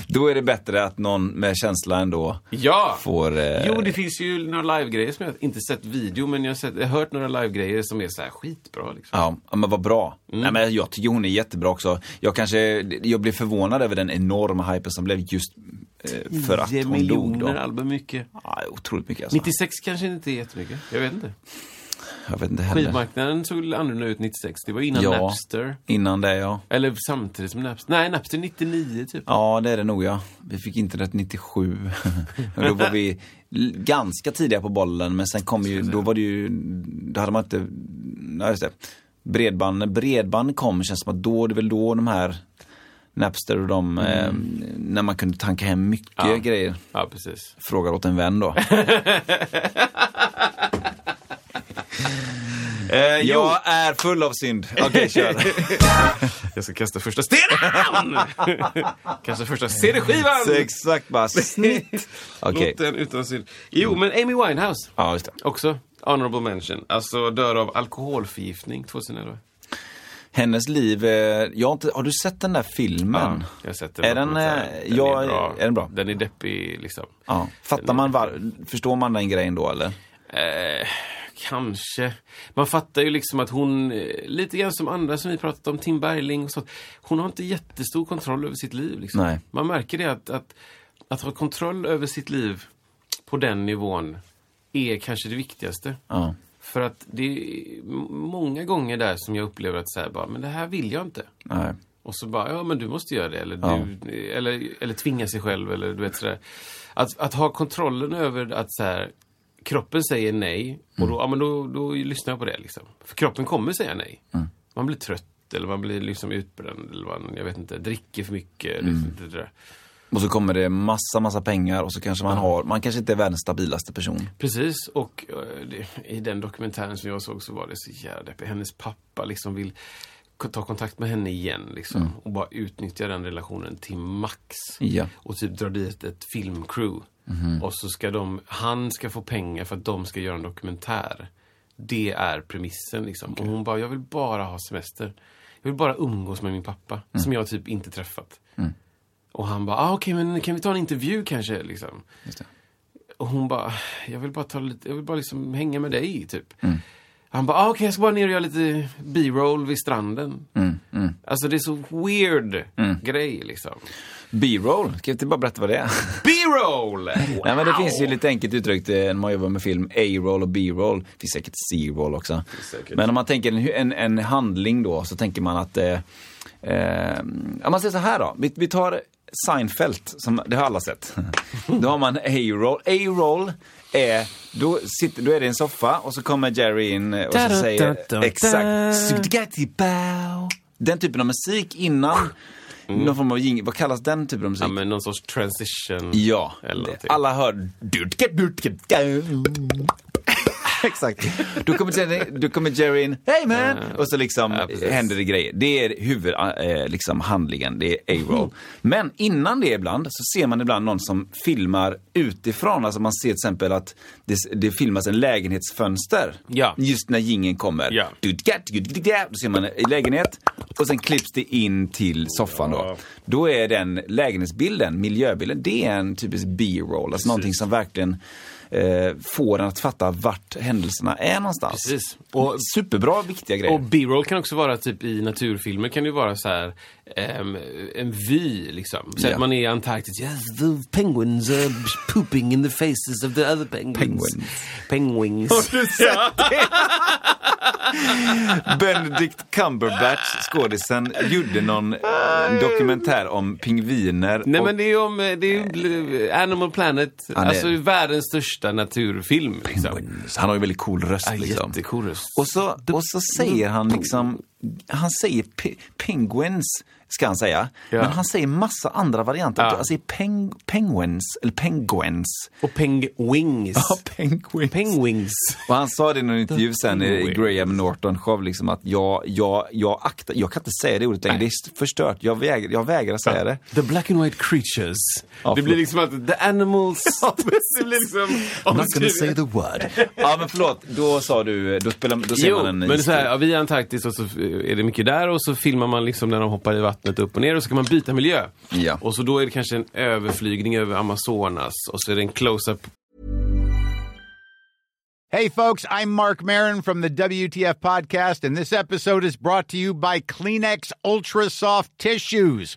B: Då är det bättre att någon med känsla ändå
A: Ja!
B: får... Eh,
A: Jo, det finns ju några livegrejer som jag inte sett video, men jag har, sett, jag har hört några livegrejer som är så här skitbra liksom.
B: Ja, ja, men vad bra.
A: Mm.
B: Nej, men jag tycker hon är jättebra också. Jag kanske, jag blev förvånad över den enorma hypen som blev just eh, för att
A: 10
B: hon dog
A: miljoner
B: då.
A: album mycket.
B: Ja, otroligt mycket alltså.
A: 96 kanske inte är jättemycket. Jag vet inte.
B: Jag vet inte heller.
A: Skivmarknaden såg väl annorlunda ut 96. Det var innan
B: Ja.
A: Napster.
B: Innan det ja.
A: Eller samtidigt som Napster. Nej, Napster 99 typ.
B: Ja, det är det nog ja. Vi fick internet 97. Och då var vi l- ganska tidiga på bollen men sen kom ju, då var det ju, då hade man inte, nej just det. Bredband, när bredband kom känns det som att då, det är väl då de här Napster och de, eh, när man kunde tanka hem mycket grejer.
A: Ja, precis.
B: Frågar åt en vän då. jag är full av synd. Okej, kör.
A: Jag ska kasta första stenen! kasta första CD-skivan!
B: Så Exakt bara snitt. Okej.
A: Låten utan synd. Jo, men Amy Winehouse.
B: Ja, just det.
A: Också honorable mention. Alltså dör av alkoholförgiftning 2011.
B: Hennes liv, eh, jag har, inte, har du sett den där filmen?
A: Jag har sett
B: Är den,
A: dokumentären.
B: eh, jag- är den bra?
A: Den är deppig liksom.
B: Ja. Fattar man, var, förstår man den grejen då eller?
A: Eh, kanske. Man fattar ju liksom att hon, eh, lite grann som andra som vi pratat om, Tim Bergling och sånt. Hon har inte jättestor kontroll över sitt liv. Liksom.
B: Nej.
A: Man märker det att, att, att ha kontroll över sitt liv på den nivån är kanske det viktigaste.
B: Ja.
A: För att det är m- många gånger där som jag upplever att så här, bara, men det här vill jag inte.
B: Nej.
A: Och så bara, ja men du måste göra det. Eller,
B: Ja.
A: du, eller, eller tvinga sig själv. Eller du vet sådär. Att, att ha kontrollen över att så här, kroppen säger nej. Och då, ja, men då, då lyssnar jag på det liksom. För kroppen kommer säga nej. Man blir trött eller man blir liksom utbränd. Eller man, jag vet inte, dricker för mycket. Liksom, det där.
B: Och så kommer det massa, massa pengar och så kanske man har, man kanske inte är världens stabilaste person.
A: Precis, och eh, det, i den dokumentären som jag såg så var det så jävla deppigt. Hennes pappa liksom vill ko- ta kontakt med henne igen liksom. Och bara utnyttja den relationen till max.
B: Ja.
A: Och typ dra dit ett filmcrew. Och så ska de, han ska få pengar för att de ska göra en dokumentär. Det är premissen liksom. Och hon bara, jag vill bara ha semester. Jag vill bara umgås med min pappa, som jag typ inte träffat. Och han bara, ah, okej men kan vi ta en intervju kanske? Liksom.
B: Just det.
A: Och hon bara, jag vill bara ta lite, jag vill bara liksom hänga med dig typ.
B: Mm.
A: Han bara, ah, okej jag ska bara ner och göra lite B-roll vid stranden.
B: Mm,
A: Alltså det är så weird grej liksom.
B: B-roll, ska jag inte bara berätta vad det är?
A: B-roll!
B: Nej men det
A: Wow!
B: finns ju lite enkelt uttryckt eh, när man jobbar med film, A-roll och B-roll. Det finns säkert C-roll också.
A: säkert.
B: Men om man tänker en, en, en handling då så tänker man att, eh, eh, om man säger så här då, vi, vi tar Seinfeld, som, det har alla sett. Då har man A-roll. A-roll är, då, sitter, då är det en soffa och så kommer Jerry in eh, och så säger, exakt, "Spaghetti bow." den typen av musik innan,
A: Mm.
B: någon form av jing, vad kallas den typen av musik?
A: Ja men någon sorts transition.
B: Ja,
A: Eller
B: det-
A: någonting.
B: alla hör durtka, durtka, durtka. Exakt. Då kommer, Jerry, då kommer Jerry in, hey man! Och så liksom
A: Ja, precis.
B: händer det grejer. Det är huvud, eh, liksom handlingen, det är A-roll. Men innan det ibland så ser man ibland någon som filmar utifrån. Alltså man ser till exempel att det, det filmas en lägenhetsfönster.
A: Ja.
B: Just när gingen kommer.
A: Ja.
B: Durtka, durtka, durtka. Då ser man en lägenhet och sen klipps det in till soffan då.
A: Ja.
B: Då är den lägenhetsbilden, miljöbilden, det är en typisk B-roll. Alltså någonting som verkligen eh, får en att fatta vart händelserna är någonstans.
A: Precis.
B: Och, Superbra, viktiga grejer.
A: Och B-roll kan också vara typ i naturfilmer kan det ju vara så här ehm, en vy liksom. Så
B: Ja.
A: att man är i Antarktis. Yes, the penguins are pooping in the faces of the other penguins.
B: Penguins.
A: Penguins.
B: du sett det? Benedict Cumberbatch, skådisen, gjorde någon dokumentär om pingviner.
A: Nej
B: och-
A: men det är ju om eh, det är ju eh, Animal Planet,
B: är-
A: alltså världens största naturfilm. Liksom.
B: Han har ju väldigt cool röst.
A: Ja,
B: liksom.
A: jättecool röst.
B: Och så, och så säger han liksom, han säger pe- penguins, ska han säga.
A: Ja.
B: Men han säger massa andra varianter.
A: Ja.
B: Han säger peng, penguins, eller penguins.
A: Och Penguins.
B: penguins.
A: Penguins.
B: Och han sa det i någon intervju sen i
A: Penguins.
B: Graham Norton show, liksom att jag, jag, jag aktar, jag kan inte säga det ordet längre, det är förstört, jag vägrar, jag vägrar säga det.
A: The black and white creatures.
B: Ja,
A: det
B: förlåt.
A: blir liksom att the animals... det blir liksom...
B: I'm not gonna say the word. ja men förlåt, då sa du, då spelar, då ser
A: Jo,
B: man en
A: men så här, ja, vi är i Antarktis och så eh, är det mycket där och så filmar man liksom när de hoppar i vattnet upp och ner och så kan man byta miljö.
B: Ja.
A: Och så då är det kanske en överflygning över Amazonas och så är det en close-up
C: Hey, folks, I'm Mark Marin from the WTF Podcast, and this episode is brought to you by Kleenex Ultra Soft Tissues,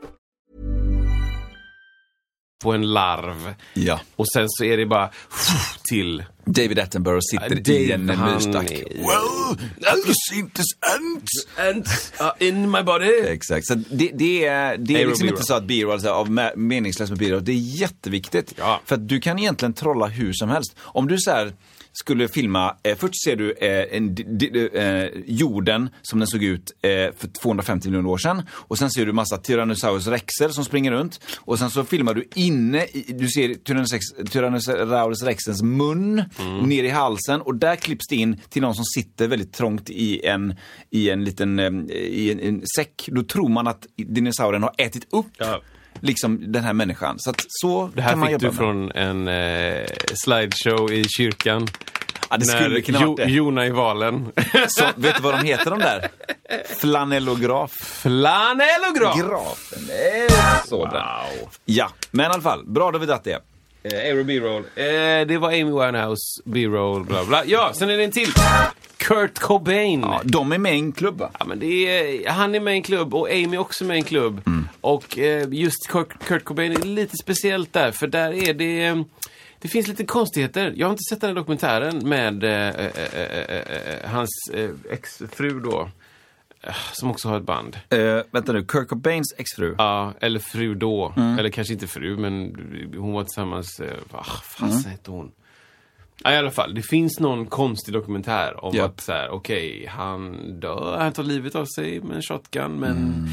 A: på en larv.
B: Ja.
A: Och sen så är det bara till...
B: David Attenborough sitter i
A: Dave,
B: en
A: han
B: myrstack.
A: är-
B: Well, I've seen this ant.
A: And uh, in my body.
B: Exakt, så det, det är, det är
A: Aero
B: liksom
A: B-roll.
B: inte så att B-roll så här, av me- meningslöst med B-roll, det är jätteviktigt.
A: Ja.
B: För att du kan egentligen trolla hur som helst. Om du så här skulle filma, eh, först ser du eh, en, di- di- eh, jorden som den såg ut eh, för 250 miljoner år sedan och sen ser du massa Tyrannosaurus rexer som springer runt och sen så filmar du inne, i, du ser Tyrannosex- Tyrannosaurus rexens mun ner i halsen och där klipps det in till någon som sitter väldigt trångt i en, i en liten eh, i en, en säck. Då tror man att dinosaurien har ätit upp
A: Ja.
B: liksom den här människan. Så att så
A: Det här
B: kan man
A: fick
B: jobba
A: du
B: med.
A: från en eh, slideshow i kyrkan.
B: Ja, det
A: när
B: skulle kunna varit det.
A: Jona i valen.
B: Så, vet du vad de heter de där? Flanellograf.
A: Flanellograf!
B: Grafen. Sådär. Ja, men i alla fall. Bra, då har vi dratt det.
A: Eh, Aero B-roll. Eh, det var Amy Winehouse, B-roll, bla bla. Ja, sen är det en till. Kurt Cobain.
B: Ja, de är med i en klubb va?
A: Ja, men det är, han är med i en klubb och Amy är också med i en klubb. Och eh, just Kurt, Kurt Cobain är lite speciellt där, för där är det... eh, Det finns lite konstigheter. Jag har inte sett den här dokumentären med eh, eh, eh, eh, hans eh, exfru då, eh, som också har ett band.
B: Eh, vänta nu, Kurt Cobains exfru.
A: Ja, eller fru då.
B: Mm.
A: Eller kanske inte fru, men hon var tillsammans... Eh, vad fasen
B: Mm.
A: hette hon? Ja, I alla fall, det finns någon konstig dokumentär om
B: Ja.
A: att så här, okej, han dör, han tar livet av sig med en shotgun, men
B: Mm.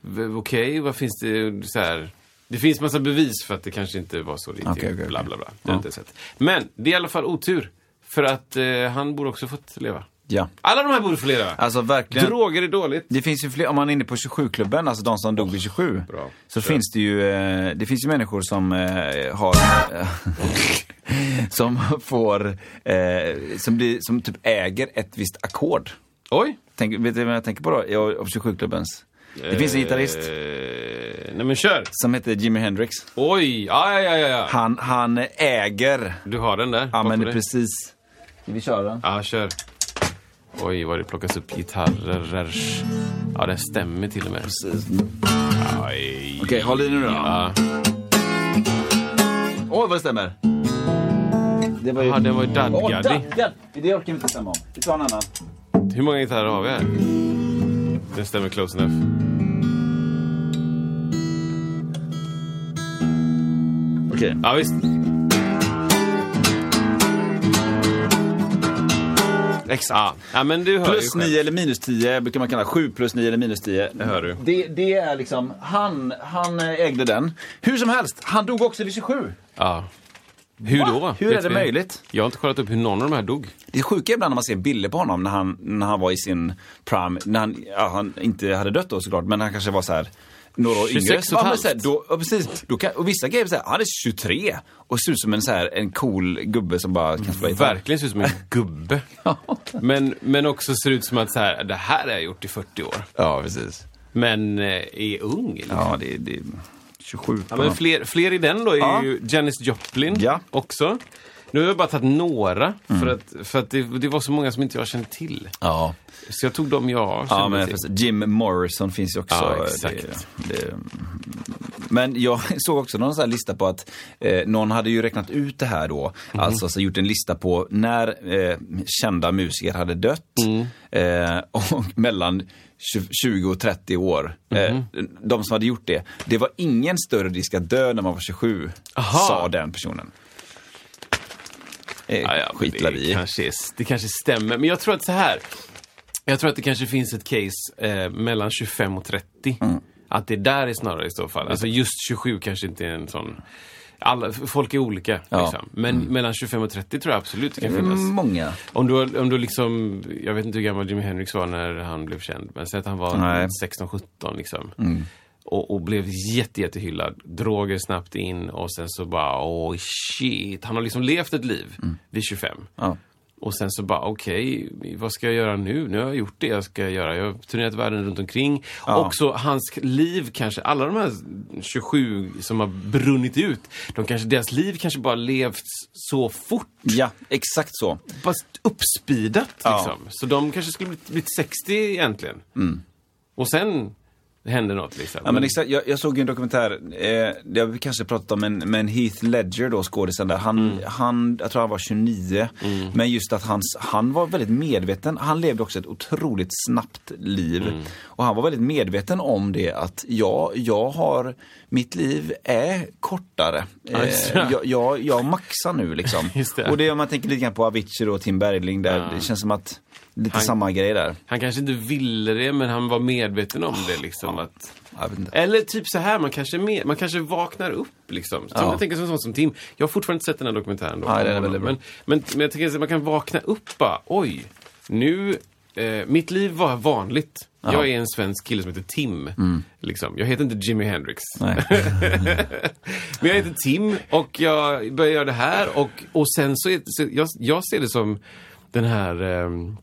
A: v- okej, vad finns det så här... Det finns massa bevis för att det kanske inte var så riktigt,
B: Okej, okej,
A: bla
B: okej.
A: bla bla. Det har jag inte sett. Men det är i alla fall otur, för att eh, han borde också fått leva.
B: Ja.
A: Alla de här borde få leva!
B: Alltså verkligen.
A: Droger är dåligt.
B: Det finns ju fler, om man är inne på 27-klubben, alltså de som dog vid 27.
A: Bra.
B: Så finns det ju, eh, det finns ju människor som eh, har, eh, som får, eh, som, blir, som typ äger ett visst ackord.
A: Oj!
B: Tänk, vet du vad jag tänker på då? Jag, av 27-klubbens. Det finns en gitarrist
A: Eh, nej men kör!
B: som heter Jimi Hendrix.
A: Oj, ja, ja, ja, ja.
B: Han, han äger,
A: Du har den där.
B: ja
A: bakom
B: men
A: dig.
B: precis. Ska vi köra den?
A: Ja, kör. Oj, vad det plockas upp gitarrer. Ja, den stämmer till och med.
B: Precis.
A: Oj.
B: Okej, håll i nu då.
A: Ja,
B: Åh, vad det stämmer. Det var ju...
A: ja den var ju
B: Åh,
A: dadgad.
B: Dadgad! Det orkar vi inte stämma om. Vi tar en annan.
A: Hur många gitarrer har vi här? Den stämmer close enough.
B: Okej.
A: Ja, visst.
B: Exakt.
A: Ja, ja men du hör
B: Plus
A: ju själv.
B: 9 eller minus 10 brukar man kalla 7 plus 9 eller minus 10. Det
A: hör du.
B: Det, är liksom, han, han eh, ägde den. Hur som helst, han dog också vid 27.
A: Ja. Hur
B: Va?
A: då?
B: Hur
A: Vet
B: är det
A: vi?
B: möjligt?
A: Jag har inte kollat upp hur någon av de här dog.
B: Det sjuka är ibland när man ser bilder på honom när han, när han var i sin prime, när han, ja, han inte hade dött då såklart, men han kanske var så här några år
A: 26
B: yngre.
A: och ett
B: Ja, men
A: halvt.
B: så här, då, ja, precis. Då kan, och vissa grejer så här, han är 23 och ser ut som en, så här, en cool gubbe som bara kan spela gitarr.
A: Verkligen ser ut som en gubbe. men, men också ser ut som att så här, det här har jag gjort i 40 år.
B: Ja, precis.
A: Men eh, är ung. Liksom.
B: Ja, det, det 27
A: Ja,
B: på
A: men
B: honom.
A: fler, fler i den då är
B: Ja.
A: ju Janis Joplin
B: Ja. Mm.
A: också. Nu har jag bara tagit några, för att, för att det, det var så många som inte jag kände till.
B: Ja,
A: Så jag tog dem jag kände
B: ja men
A: till.
B: precis. Jim Morrison finns ju också.
A: Ja, exakt.
B: Det, det, men jag såg också någon sån här lista på att eh, någon hade ju räknat ut det här då.
A: Mhm.
B: Alltså så gjort en lista på när eh, kända musiker hade dött.
A: Mm.
B: Eh, och mellan 20 20 och 30 år. Eh,
A: Mhm.
B: de som hade gjort det. Det var ingen större risk att dö när man var 27,
A: Aha.
B: sa den personen. Eh,
A: Ja, ja, men
B: skitlar
A: det
B: vi i.
A: kanske, är, det kanske stämmer, men jag tror att så här. Jag tror att det kanske finns ett case eh, mellan 25 och 30.
B: Mm.
A: Att det där är snarare i så fall. Alltså just 27 kanske inte är en sån... Alla, folk är olika.
B: Ja. Mm.
A: Liksom. Men mellan 25 och 30 tror jag absolut det kan finnas.
B: Många.
A: Om du, om du liksom, jag vet inte hur gammal Jimi Hendrix var när han blev känd, men säg att han var
B: Nej. Mm.
A: 16-17 liksom. Och, och blev jätte, jättehyllad. Droger snabbt in och sen så bara, åh shit. Han har liksom levt ett liv vid 25.
B: Mm. Ja.
A: Och sen så bara, okej, vad ska jag göra nu? Nu har jag gjort det jag ska göra. Jag har turnerat världen runt omkring. Också hans liv kanske, alla de här 27 som har brunnit ut, de kanske, deras liv kanske bara levts så fort
B: ja, exakt så.
A: fast uppspidat.
B: Ja.
A: Liksom. Så de kanske skulle blivit, blivit 60 egentligen. Och sen hände något. Liksom.
B: Mm. Ja, men exakt, jag, jag såg ju en dokumentär, eh, det har vi kanske pratat om, men, men Heath Ledger då, skådisen där, han,
A: Mm.
B: han, jag tror han var 29. Men just att hans, han var väldigt medveten, han levde också ett otroligt snabbt liv.
A: Mm.
B: Och han var väldigt medveten om det att ja, jag har, mitt liv är kortare.
A: Ja, just
B: Eh,
A: det.
B: jag, jag, jag maxar nu liksom.
A: Just det.
B: Och det är om man tänker lite grann på Avicii då, Tim Bergling där, det känns som att lite samma grej där.
A: Han kanske inte ville det, men han var medveten om det. Liksom, att...
B: Jag vet inte.
A: Eller typ så här, man kanske, är med, man kanske vaknar upp. Liksom. Som,
B: Ja.
A: Jag tänker som sånt som Tim. Jag har fortfarande inte sett den här dokumentären. Då,
B: Nej, den är väldigt bra.
A: men, men, men jag tänker att man kan vakna upp bara, oj, nu, eh, mitt liv var vanligt. Jag är en svensk kille som heter Tim. Liksom. Jag heter inte Jimi Hendrix.
B: Mm. Nej.
A: Men jag heter Tim och jag börjar göra det här och, och sen så, är, så jag, jag ser det som den här ehm,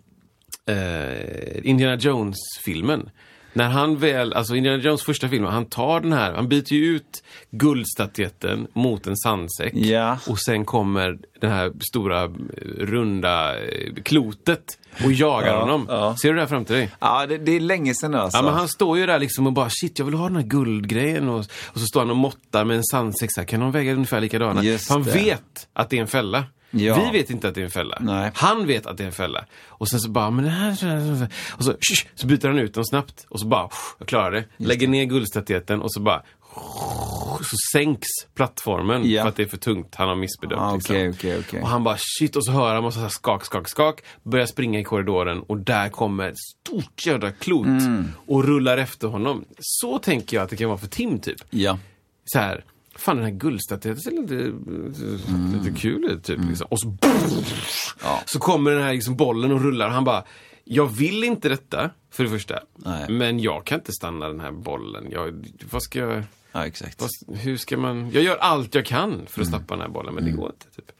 A: eh, Indiana Jones-filmen. När han väl, alltså Indiana Jones första film, han tar den här, han byter ju ut guldstatyetten mot en sandsäck.
B: Ja.
A: Och sen kommer det här stora eh, runda eh, klotet och jagar
B: Ja,
A: honom.
B: ja.
A: Ser du det här framför dig?
B: Ja, det, det är länge sedan nu alltså.
A: Ja, men han står ju där liksom och bara shit, jag vill ha den här guldgrejen. Och, och så står han och måttar med en sandsäck. så här, Kan de väga ungefär likadana?
B: Just
A: För han
B: det.
A: vet att det är en fälla.
B: Ja.
A: Vi vet inte att det är en fälla.
B: Nej.
A: Han vet att det är en fälla. Och sen så bara, men det här... Och så, "Shh!" så byter han ut den snabbt. Och så bara, jag klarar det. Lägger ner guldstatyetten och så bara... Så sänks plattformen
B: Ja.
A: för att det är för tungt. Han har missbedömt.
B: Ah,
A: liksom.
B: okej, okej, okej.
A: Och han bara shit och så hör han massa så här skak, skak, skak. Börjar springa i korridoren och där kommer ett stort jävla klot
B: Mm.
A: och rullar efter honom. Så tänker jag att det kan vara för Tim typ.
B: Ja.
A: Så här, fan den här guldstatyetten ser lite,
B: Mm.
A: lite kul ut typ. Liksom. Och så, så kommer den här liksom, bollen och rullar och han bara jag vill inte detta, för det första.
B: Nej.
A: Men jag kan inte stanna den här bollen. Jag, vad ska jag...
B: Ja, exakt.
A: Vad- Hur ska man... Jag gör allt jag kan för att
B: Mm.
A: stoppa den här bollen, men det går inte. Typ.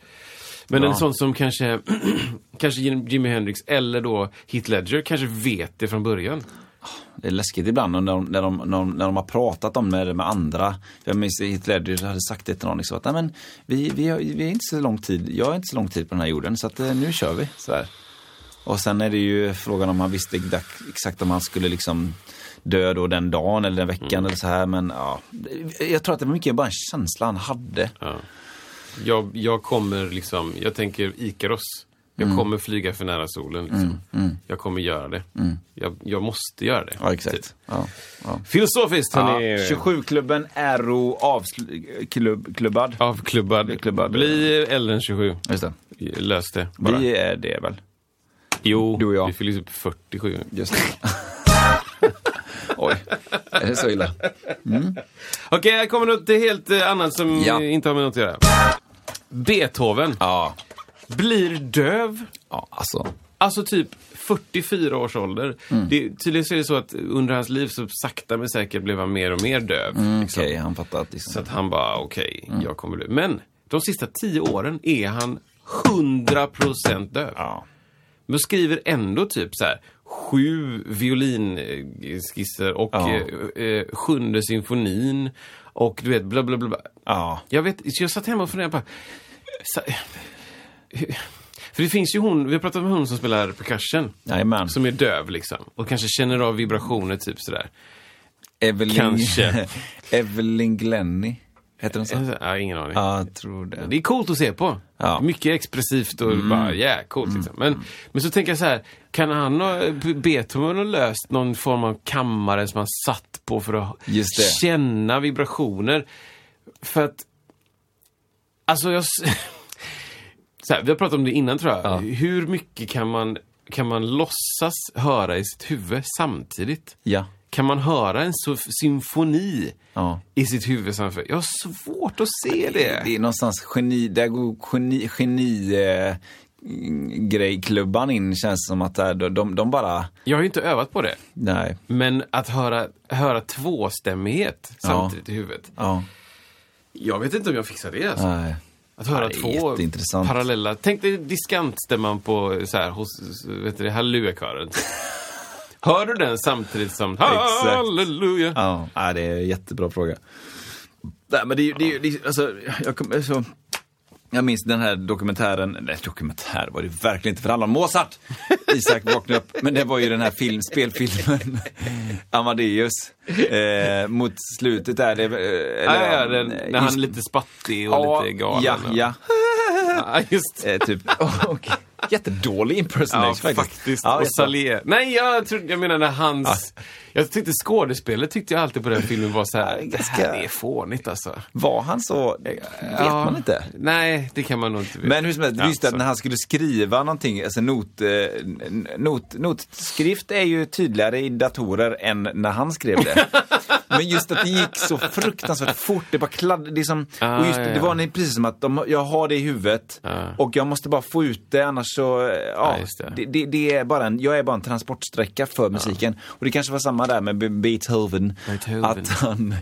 A: Men en sån som kanske, kanske Jim- Jimi Hendrix eller då Heath Ledger kanske vet det från början.
B: Det är läskigt ibland när de, när de, när de, när de har pratat om det med andra. Jag minns Heath Ledger hade sagt det till någon liksom, att Nej, men vi, vi, har, vi är inte så lång tid, jag är inte så lång tid på den här jorden så att, eh, nu kör vi. Så här. Och sen är det ju frågan om han visste exakt- exakt om han skulle liksom dö då den dagen eller den veckan
A: Mm.
B: eller så här men ja. Jag tror att det var mycket bara en känsla han hade.
A: Jag, jag kommer liksom, jag tänker Ikaros. Jag
B: Mm.
A: kommer flyga för nära solen. Liksom. Jag kommer göra det. Jag, jag måste göra det.
B: Mm. Ja exakt.
A: Typ.
B: Ja, ja.
A: Filosofiskt,
B: Ja,
A: han är
B: 27-klubben Aero avslubbad. Klubb, klubbad.
A: avklubbad.
B: Klubbad.
A: Bli äldre än 27.
B: Just det.
A: Lös det bara.
B: Vi är det väl?
A: Jo,
B: Du och jag.
A: vi fyller typ upp 47.
B: Just det. Oj, är det så illa?
A: Okej, här kommer något helt eh, annat som
B: Ja.
A: eh, inte har med något att göra. Beethoven
B: Ja,
A: blir döv
B: ja alltså.
A: Alltså typ 44 års ålder.
B: Mm.
A: Det, tydligen så är det så att under hans liv så sakta men säkert blev han mer och mer döv. liksom.
B: Mm, Okej, han fattar att liksom. Mm.
A: Så att han bara, okej, jag kommer bli... Men de sista 10 åren är han 100% döv.
B: Ja.
A: Men skriver ändå typ så här sju violinskisser och
B: Ja.
A: eh, eh, sjunde symfonin och du vet bla bla bla. bla.
B: Ja.
A: Jag vet, så jag satt hemma och funderade på... Så, för det finns ju hon, vi har pratat om hon som spelar percussion.
B: Jajamän.
A: Som är döv liksom. Och kanske känner av vibrationer typ sådär.
B: Evelyn,
A: Kanske.
B: Evelyn Glenny, heter den så?
A: Jag har ingen aning.
B: Ja, jag tror det.
A: Det är coolt att se på.
B: Ja. Mm.
A: Mycket expressivt och bara, yeah, coolt liksom. Men, men så tänker jag så här, kan han ha, Beethoven ha löst någon form av kammare som han satt på för att
B: Just det.
A: känna vibrationer? För att, alltså jag... s- Så här, vi har pratat om det innan tror jag. Hur mycket kan man, kan man låtsas höra i sitt huvud samtidigt?
B: Ja.
A: Kan man höra en so- symfoni
B: Ja.
A: i sitt huvud samtidigt? Jag har svårt att se det.
B: Det är någonstans geni, där går geni, geni eh, grejklubban in känns som att där, de, de bara,
A: Jag har ju inte övat på det.
B: nej,
A: Men att höra, höra tvåstämmighet samtidigt i huvudet.
B: ja,
A: Jag vet inte om jag fixar det alltså.
B: nej.
A: Att höra
B: det är
A: två
B: jätteintressant.
A: parallella. Tänk dig diskantstämman på så här, hos vet du, det, hallelujakören. Hör du den samtidigt som
B: Exakt.
A: halleluja?
B: Ja, nej, det är en jättebra fråga. Nej, men det är ju, det är ju, det är, alltså, jag kommer, så, jag minns den här dokumentären, nej dokumentär var det verkligen inte för alla, Mozart! Isak vaknade upp, men det var ju den här film, spelfilmen Amadeus. Eh, mot slutet där, det, eh,
A: Ja,
B: eller,
A: ja, den,
B: eh,
A: när han
B: ins-
A: är lite spattig och
B: ja,
A: lite galen.
B: Ja,
A: och-
B: ja.
A: Ja, just det.
B: Eh, typ. Och, jättedålig impersonation
A: Ja,
B: faktiskt.
A: faktiskt.
B: Ja,
A: och
B: jättebra.
A: Salier. Nej, jag, trodde, jag menar när hans... Jag tyckte skådespelet tyckte jag alltid på den filmen var så här, det här är fånigt alltså.
B: Var han så? Det vet
A: Ja.
B: man inte.
A: Nej, det kan man nog inte Alltså. veta.
B: Men hur som helst,
A: Ja,
B: just det att
A: så.
B: när han skulle skriva någonting, alltså not, eh, n- not, notskrift är ju tydligare i datorer än när han skrev det. Men just att det gick så fruktansvärt fort, det bara kladd, det, är som,
A: Ah,
B: och just,
A: ja,
B: det
A: ja. Ah.
B: var ni- precis som att de, jag har det i huvudet och jag måste bara få ut det annars så, eh, ja,
A: Ja, just det.
B: det. Det, det är bara en, jag är bara en transportsträcka för musiken. Och det kanske var samma där med Be- Beethoven,
A: Beethoven.
B: att han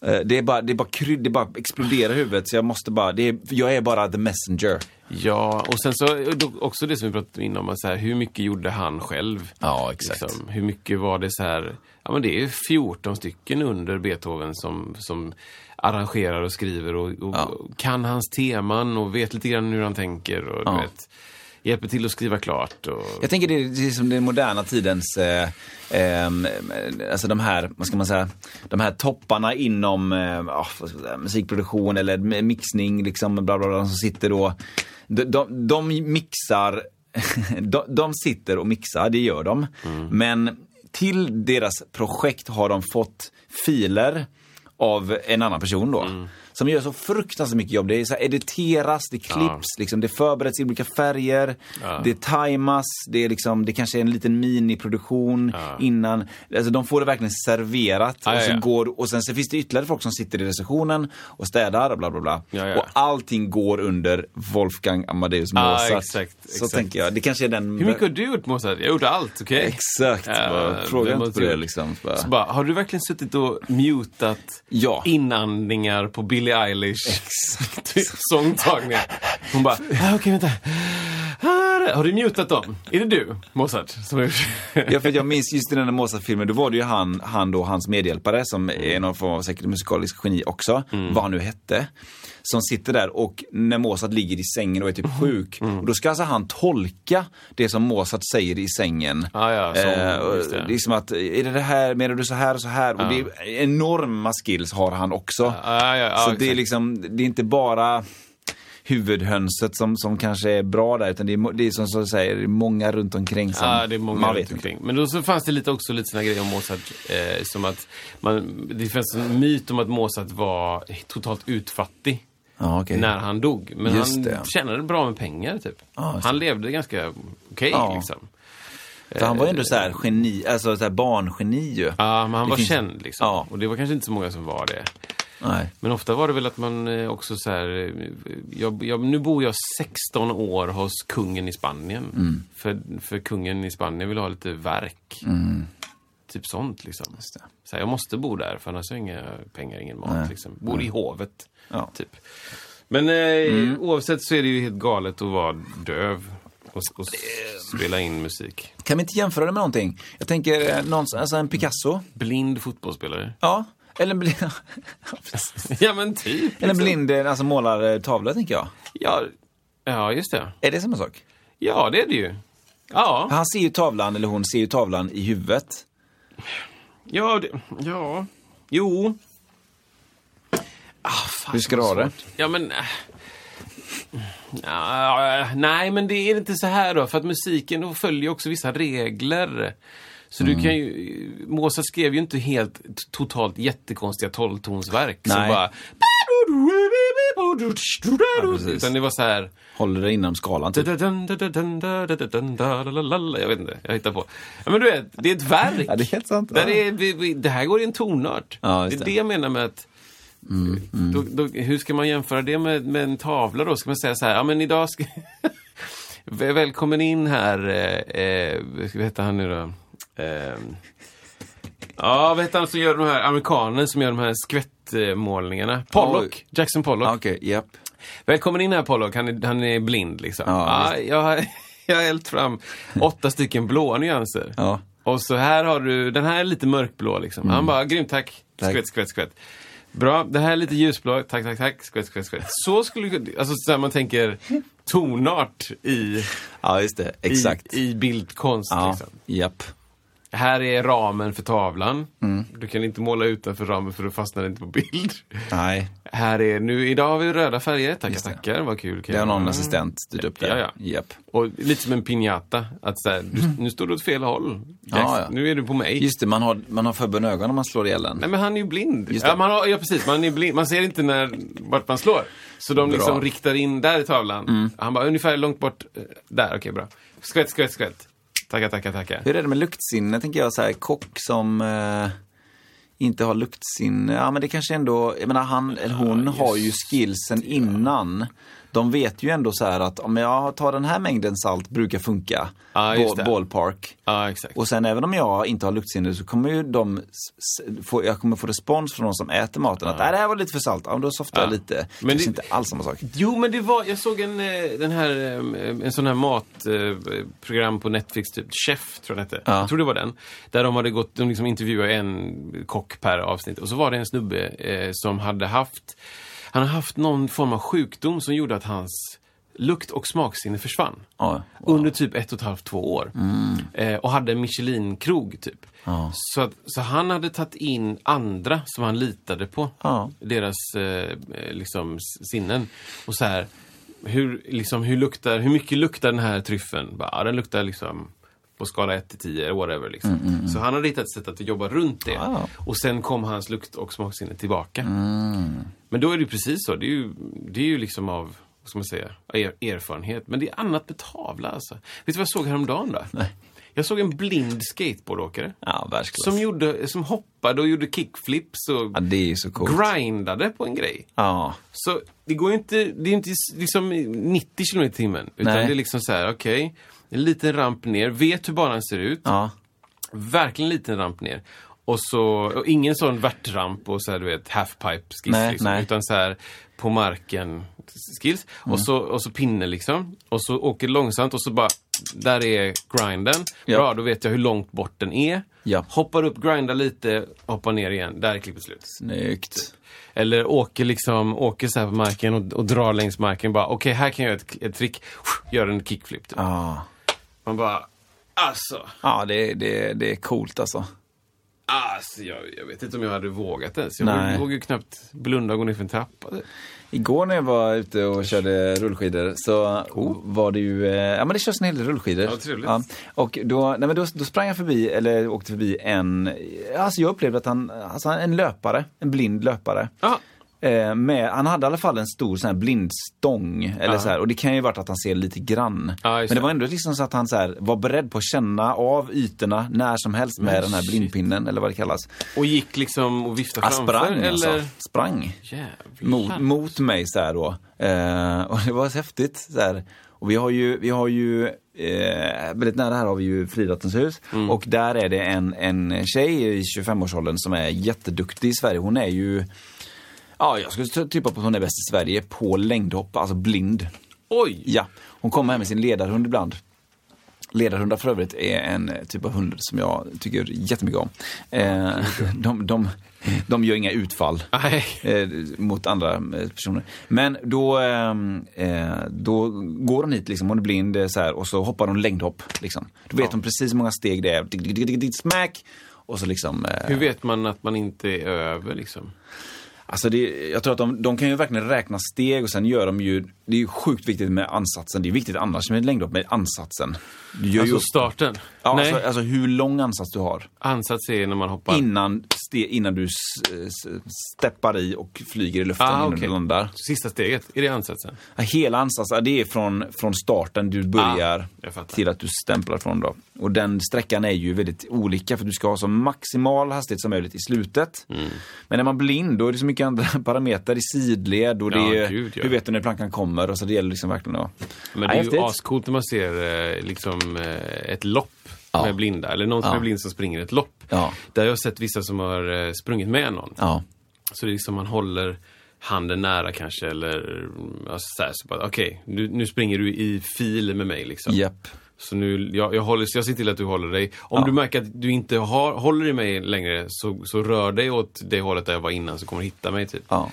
B: eh, det är bara, det är bara, kryd, det bara exploderar i huvudet så jag måste bara, det är, jag är bara the messenger.
A: Ja, och sen så då- också det som vi pratade innan, om, så här, hur mycket gjorde han själv? Liksom,
B: Ja, exakt.
A: hur mycket var det så här, ja men det är 14 stycken under Beethoven som, som arrangerar och skriver och, och, och kan hans teman och vet lite grann hur han tänker och du vet, hjälper till att skriva klart. Och,
B: Jag tänker det är, det är som den moderna tidens, eh, ehm, alltså de här, vad ska man säga, de här topparna inom eh, ja, vad ska man säga, musikproduktion eller mi- mixning, liksom bla bla bla, som sitter då, de, de, de mixar, de, de sitter och mixar, det gör de. Men till deras projekt har de fått filer av en annan person då.
A: Mm.
B: Som gör så fruktansvärt mycket jobb. Det är så här, editeras, det klipps, liksom, det förbereds i olika färger, det tajmas, det, är liksom, det kanske är en liten miniproduktion innan. Alltså, de får det verkligen serverat
A: Ja,
B: och,
A: ja,
B: så
A: ja.
B: Går, och sen så finns det ytterligare folk som sitter i recensionen och städar och bla bla bla.
A: Ja, ja.
B: Och allting går under Wolfgang Amadeus
A: Ja,
B: Mozart.
A: exakt,
B: så
A: exakt.
B: tänker jag. Det kanske är den...
A: hur mycket har du gjort Mozart? Jag har gjort allt, okej?
B: Exakt, bara,
A: Eh,
B: fråga inte
A: måste
B: på det
A: jag-
B: liksom. Bara.
A: Så bara, har du verkligen suttit och mutat
B: Ja.
A: inandningar på Billie Eilish typ sångtagning? Hon bara, ah, okej vänta. Ah, Har du mutat dem? Är det du, Mozart? Som har gjort-
B: Ja, för jag minns just i den där Mozart-filmen, då var det ju han, han då, hans medhjälpare som är någon form av säkert musikalisk geni också,
A: Mm.
B: vad han nu hette. Som sitter där och när Mozart ligger i sängen och är
A: Mm.
B: typ sjuk, och då ska alltså han tolka det som Mozart säger i sängen.
A: Ah, ja, som-
B: Eh, och
A: just det.
B: Liksom att, är det det här, menar du så här och så här? Och det är enorma skills har han också.
A: Ah, ja, ja,
B: så det är
A: exakt.
B: liksom, det är inte bara huvudhönset som, som kanske är bra där, utan det är, mo- det är som du säger, det är många runt omkring som
A: Ja, det är många
B: man
A: runt
B: vet inte.
A: omkring. Men då så fanns det lite också lite såna grejer om Mozart. Eh, som att man, det fanns en myt om att Mozart var totalt utfattig.
B: Ja, okej.
A: När han dog. Men
B: Just
A: han
B: det.
A: tjänade bra med pengar typ.
B: Ja, just
A: han
B: det.
A: levde ganska okej
B: Ja.
A: liksom.
B: För han var ju ändå så här geni, alltså så här barngeni ju.
A: eh, Ja, men han
B: Det
A: var
B: finns-
A: känd liksom.
B: Ja.
A: Och det var kanske inte så många som var det.
B: Nej.
A: Men ofta var det väl att man eh, också så här, eh, jag, jag, nu bor jag 16 år hos kungen i Spanien.
B: Mm.
A: För, för kungen i Spanien vill ha lite verk.
B: Mm.
A: Typ sånt liksom. Så här, jag måste bo där för annars har jag inga pengar, ingen mat. Liksom. Bor i hovet.
B: Ja. Mm.
A: Typ. Men eh, oavsett så är det ju helt galet att vara döv och, och spela in musik.
B: Kan vi inte jämföra det med någonting? Jag tänker eh, någon, alltså en Picasso.
A: Blind fotbollsspelare.
B: Ja, eller en blind, Ja, precis.
A: Ja men typ.
B: eller en
A: liksom.
B: blind eh, alltså målartavla tänker jag.
A: Ja, ja, just det.
B: Är det samma sak?
A: Ja, det är det ju. Ja,
B: Han ser ju tavlan, eller hon ser ju tavlan i huvudet.
A: ja, det, ja. Jo.
B: Hur ska du ha Ah, det?
A: Ja, men... äh. Ja, nej, men det är inte så här då. För att musiken då följer också vissa regler. Så du kan ju... Mozart skrev ju inte helt t- totalt jättekonstiga tolvtonsverk. Som
B: Nej.
A: bara...
B: precis.
A: Utan det var så här...
B: Håller det inom skalan typ.
A: Jag vet inte, jag hittar på. Ja, men du vet, det är ett verk.
B: Ja, det är helt sant.
A: Där
B: Ja.
A: är, vi, vi, det här går i en tonart.
B: Ja,
A: det
B: just
A: är det
B: det. Mm,
A: jag menar med att Då, då, hur ska man jämföra det med, med en tavla då? Ska man säga så här, ja men idag ska... Väl- Välkommen in här, eh, eh, vad heter han nu då? Eh, ja, vad heter han som gör de här, amerikanen som gör de här skvättmålningarna? Pollock,
B: Oj.
A: Jackson Pollock.
B: Ja, Ah, Okej, japp.
A: Välkommen in här Pollock, han är, han är blind liksom.
B: Ja,
A: Ja, jag, har- jag har hällt fram åtta stycken blåa nyanser.
B: Ja. Mm.
A: Och så här har du, den här är lite mörkblå liksom. Han bara, grymt tack.
B: Tack.
A: Skvätt, skvätt, skvätt. Bra, det här är lite ljusblå. Tack, tack, tack. Skvätt, skvätt, skvätt. Så skulle alltså så här man tänker tonart i,
B: Ja, just det.
A: i,
B: Exakt.
A: i bildkonst.
B: ja,
A: Liksom.
B: japp.
A: Här är ramen för tavlan.
B: Mm.
A: Du kan inte måla utanför ramen för då fastnar det inte på bild.
B: Nej,
A: Här är, nu, idag har vi röda färger. Tackar,
B: Just det.
A: tackar. Vad kul.
B: det har någon
A: Mm.
B: assistent styrt upp det.
A: Ja, ja.
B: Japp.
A: Och lite som en piñata. Att så här, du, nu står du åt fel håll.
B: Ja, ja.
A: Nu är du på mig.
B: Just det, man har, man har förbundna ögon om man slår ihjäl den.
A: Nej men han är ju blind.
B: Just det.
A: Ja, man har, ja precis, man är blind. Man ser inte när, vart man slår. Så de liksom riktar in där i tavlan.
B: Mm.
A: Han bara ungefär långt bort. eh, Där, okej bra. Skvätt, skvätt, skvätt. Tackar, tackar, tackar.
B: Hur är det med luktsinne, tänker jag, så här, kock som eh, inte har luktsinne. Ja, men det kanske ändå, jag menar han eller hon har ju skillsen innan. De vet ju ändå så här att om jag tar den här mängden salt brukar funka.
A: Ja, just det.
B: ballpark.
A: Ja, exakt.
B: Och sen även om jag inte har luktsinne så kommer ju de s- s- få, jag kommer få respons från de som äter maten. Att "Nej, det här var lite för salt, ja, men då softar jag
A: Ja.
B: lite.
A: Men
B: Men det är
A: det-
B: inte alls samma sak.
A: Jo, men det var, jag såg en, eh, den här, eh, en sån här matprogram på Netflix, typ Chef tror jag den hette.
B: Ja.
A: Jag tror det var den. Där de hade gått, de liksom intervjuade en kock per avsnitt. Och så var det en snubbe eh, som hade haft, han hade haft någon form av sjukdom som gjorde att hans lukt och smaksinne försvann.
B: Ja,
A: Under typ ett och ett halvt, två år. Eh, och hade en Michelin-krog typ. Så, att, så han hade tagit in andra som han litade på.
B: Ja.
A: Deras eh, eh, liksom, s- sinnen. Och så här, hur, liksom, hur, luktar, hur mycket luktar den här tryffeln? Bara, ja, den luktar liksom på skala 1 till 10, whatever. Liksom. Så han hade hittat ett sätt att jobba runt det.
B: Ah.
A: Och sen kom hans lukt och smaksinne tillbaka. Men då är det ju precis så. Det är ju, det är ju liksom av, vad ska man säga, er, erfarenhet. Men det är annat med tavla alltså. Vet du vad jag såg häromdagen då?
B: Nej.
A: Jag såg en blind skateboardåkare.
B: Ja, världsklass.
A: Som, gjorde, som hoppade och gjorde kickflips och
B: Ja, det är ju så coolt.
A: grindade på en grej.
B: Ja.
A: Så det går ju inte, det är ju inte s- liksom 90 km i timmen. Utan
B: Nej.
A: det är liksom så här, okej, en liten ramp ner, vet hur banan ser ut.
B: Ja.
A: Verkligen liten ramp ner. Och, så, och ingen sån värtramp och så här, du vet, halfpipe-skiss.
B: Nej,
A: Liksom,
B: nej. Mm.
A: utan så här på marken-skills. Och, så, och så pinne liksom. Och så åker det långsamt och så bara, där är grinden.
B: Ja.
A: Bra, då vet jag hur långt bort den är.
B: Ja.
A: Hoppar upp, grindar lite, hoppar ner igen. Där är klippet slut.
B: Snyggt.
A: Eller åker liksom, åker så här på marken och, och drar längs marken. Bara, okej, här kan jag göra ett, ett trick. Gör en kickflip. Typ.
B: Ja.
A: Man bara, alltså.
B: Ja, det, det, det är coolt alltså.
A: Alltså, jag, jag vet inte om jag hade vågat ens. Jag
B: Nej.
A: vågade ju knappt blunda och gå ner för en trappa.
B: Igår när jag var ute och körde rullskidor så var det ju, eh, ja men det körs en hel del rullskidor.
A: Oh. Ja, trevligt.
B: och då, nej men då, då sprang jag förbi, eller åkte förbi en, alltså jag upplevde att han, alltså han- en löpare, en blind löpare.
A: Ja.
B: Eh, med, han hade i alla fall en stor sån här blindstång. Eller så här, och det kan ju varit att han ser lite grann.
A: Ja,
B: Men
A: just
B: det
A: det.
B: var ändå liksom så att han så här, var beredd på att känna av ytorna när som helst med den här
A: shit.
B: blindpinnen eller vad det kallas.
A: Och gick liksom och viftade
B: Han
A: framför?
B: sprang
A: eller?
B: alltså. Sprang
A: Jävlar.
B: mot, mot mig så här då. Eh, och det var så häftigt. Så här. Och vi har ju, vi har ju eh, väldigt nära här har vi ju Fridrottens hus
A: Mm.
B: och där är det en, en tjej i 25-årsåldern som är jätteduktig i Sverige. Hon är ju, ja jag skulle t- tippa på att hon är bäst i Sverige på längdhopp, alltså blind.
A: Oj!
B: Ja, hon kommer hem med sin ledarhund ibland. Ledarhundar för övrigt är en eh, typ av hund som jag tycker jättemycket om. Eh, de, de, de gör inga utfall
A: Nej.
B: eh, mot andra eh, personer. Men då, eh, eh, då går hon hit, liksom, hon är blind eh, så här, och så hoppar hon längdhopp. Liksom. Då vet hon precis hur många steg det är. Tick, tick, tick, tick, tick, Smack! Och så liksom... eh,
A: Hur vet man att man inte är över liksom?
B: Alltså det, jag tror att de, de kan ju verkligen räkna steg och sen gör de ju, det är ju sjukt viktigt med ansatsen. Det är viktigt annars med längdhopp, med ansatsen. Du gör
A: Alltså
B: ju upp-
A: starten?
B: Ja,
A: Nej,
B: alltså, alltså hur lång ansats du har
A: ansats är när man hoppar.
B: innan, ste, innan du s- s- steppar i och flyger i luften
A: Ah,
B: innan
A: okej.
B: du landar.
A: Sista steget, är det ansatsen?
B: Ja, Hela ansatsen, ja, det är från, från starten du börjar
A: jag fattar.
B: till att du stämplar från då. Och den sträckan är ju väldigt olika för du ska ha så maximal hastighet som möjligt i slutet. Men är man blind då är det så mycket andra parametrar i sidled och det
A: Ja,
B: är,
A: gud, ja.
B: du vet när plankan kommer och så det gäller liksom verkligen att...
A: Men det är ju ascoolt när man ser eh, liksom, eh, ett lopp
B: Ja.
A: med blinda, eller någon som
B: Ja.
A: är blind som springer ett lopp.
B: Ja.
A: Där har jag sett vissa som har eh, sprungit med någon.
B: Ja.
A: Så det är liksom man håller handen nära kanske eller mm, alltså, så här, så bara okej, nu, nu springer du i fil med mig liksom.
B: Japp.
A: Så nu, jag, jag, håller, jag ser till att du håller dig. Om du märker att du inte har, håller i mig längre så, så rör dig åt det hållet där jag var innan så kommer du hitta mig typ.
B: Ja.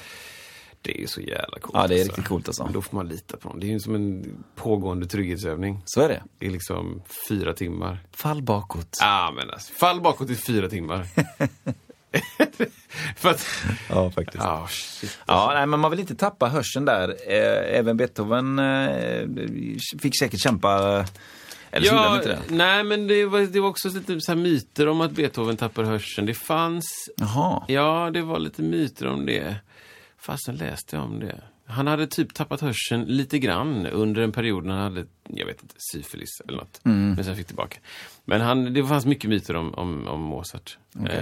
A: Det är ju så jävla coolt.
B: ja, det är riktigt coolt alltså.
A: Men Då får man lita på dem. Det är ju som en pågående trygghetsövning.
B: Så är det.
A: Det är liksom fyra timmar.
B: Fall bakåt.
A: Ja, ah, men alltså, fall bakåt i fyra timmar. För att...
B: Ja, faktiskt.
A: Ah, shit.
B: Ja, nej, men man vill inte tappa hörseln där. Eh, även Beethoven eh, fick säkert kämpa. eh, Eller så gjorde han inte det.
A: nej, men det var, det var också lite så här myter om att Beethoven tappar hörseln. Det fanns...
B: Jaha.
A: Ja, det var lite myter om det. Fasen läste jag om det. Han hade typ tappat hörseln lite grann under en period när han hade, jag vet inte, syfilis eller något.
B: Mm.
A: Men sen fick tillbaka. Men han, det fanns mycket myter om, om, om Mozart. Eh,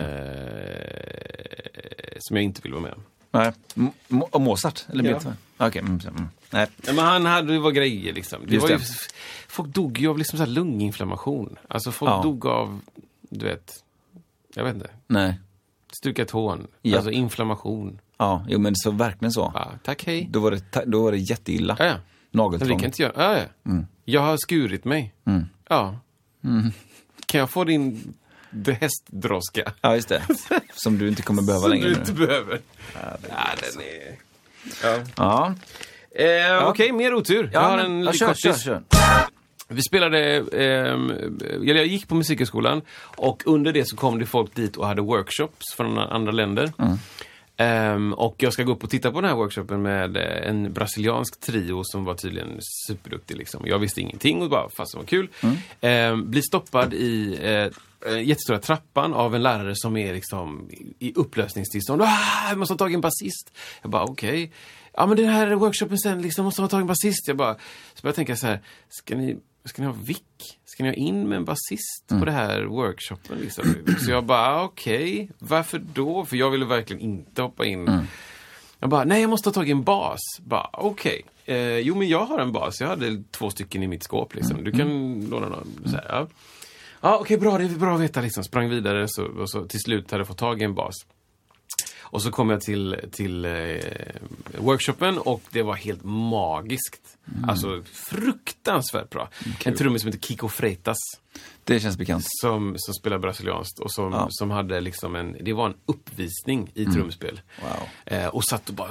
A: som jag inte vill vara med om.
B: Nej. M- M- och Mozart? Eller Beethoven? Okej. mm, mm, nej.
A: Nej, men han hade, det var grejer liksom. Det
B: Just
A: var ju,
B: det.
A: folk dog ju av liksom så här lunginflammation. Alltså folk
B: Ja.
A: dog av, du vet, jag vet inte,
B: nej.
A: stukat hån.
B: Ja.
A: Alltså inflammation.
B: Ja, jo, men så verkligen så.
A: Ja, tack, hej.
B: Då, var det ta- då var det jätteilla.
A: Ja, ja. Men vi
B: Nageltrång. Mm.
A: kan inte göra... Ja, ja. Jag har skurit mig. Ja. Kan jag få din d- hästdroska?
B: Ja, just det. Som du inte kommer behöva
A: Som
B: längre
A: du
B: nu.
A: inte behöver. Ja, den är...
B: Ja.
A: Eh, Okej, mer otur. jag har
B: men-
A: en
B: ja,
A: liten
B: kör,
A: kortis.
B: kör, kör.
A: Vi spelade, ehm, eller jag gick på Musikhögskolan och under det så kom det folk dit och hade workshops från andra länder. Ehm, och jag ska gå upp och titta på den här workshopen med eh, en brasiliansk trio som var tydligen superduktig. Liksom. Jag visste ingenting och bara, fast det var kul. Ehm, blir stoppad i eh, eh, jättestora trappan av en lärare som är liksom i- i upplösningstillstånd. Ah, jag måste ha tagit en basist. Jag bara, okej. Ja men den här workshopen sen, liksom, måste ha tagit en basist. Jag bara, så började jag tänka så här, ska ni Ska ni ha vick? Ska ni ha in med en basist på det här workshopen? Liksom? Så jag bara, ah, okej, varför då? För jag ville verkligen inte hoppa in. Jag bara, nej jag måste ha tagit en bas. Bara, okej. Eh, jo men jag har en bas, jag hade två stycken i mitt skåp liksom. Du kan låna någon. Så här, ja. Ja, okej, bra. Det är bra att veta liksom. Sprang vidare så, och så till slut hade jag fått tag i en bas. Och så kom jag till, till eh, workshopen och det var helt magiskt. Alltså fruktansvärt bra. En trummis som heter Kiko Freitas
B: Det känns bekant.
A: som, som spelar brasilianskt och som,
B: Ja. Mm.
A: som hade liksom en, det var en uppvisning i trumspel.
B: Wow.
A: Eh, och satt och bara...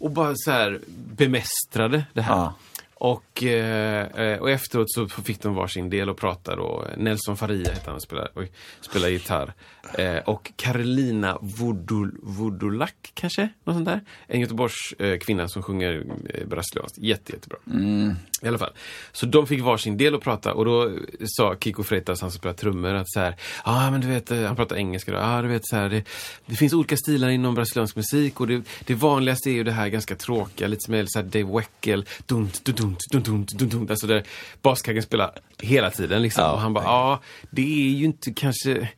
A: Och bara så här bemästrade det här.
B: Ja.
A: Och, eh, eh, och efteråt så fick de varsin del och pratade och Nelson Faria hette han och spelade, oj, spelade gitarr. Eh, och Carolina Vodol, Vodolak kanske? Något sånt där. En Göteborgs eh, kvinna som sjunger eh, brasilianskt. Jätte, jättebra.
B: Mm.
A: I alla fall. Så de fick varsin del att prata och då sa Kiko Freitas, han som spelar trummor, att så här, ja ah, men du vet, eh, han pratar engelska då, ah, du vet så här, det, det finns olika stilar inom brasiliansk musik och det, det vanligaste är ju det här ganska tråkiga, lite som är så här Dave Weckel, dunt, dunt, dunt, dunt, dunt, dunt, dunt, alltså där baskaggen spelar hela tiden liksom. och han bara, ja, ah, det är ju inte kanske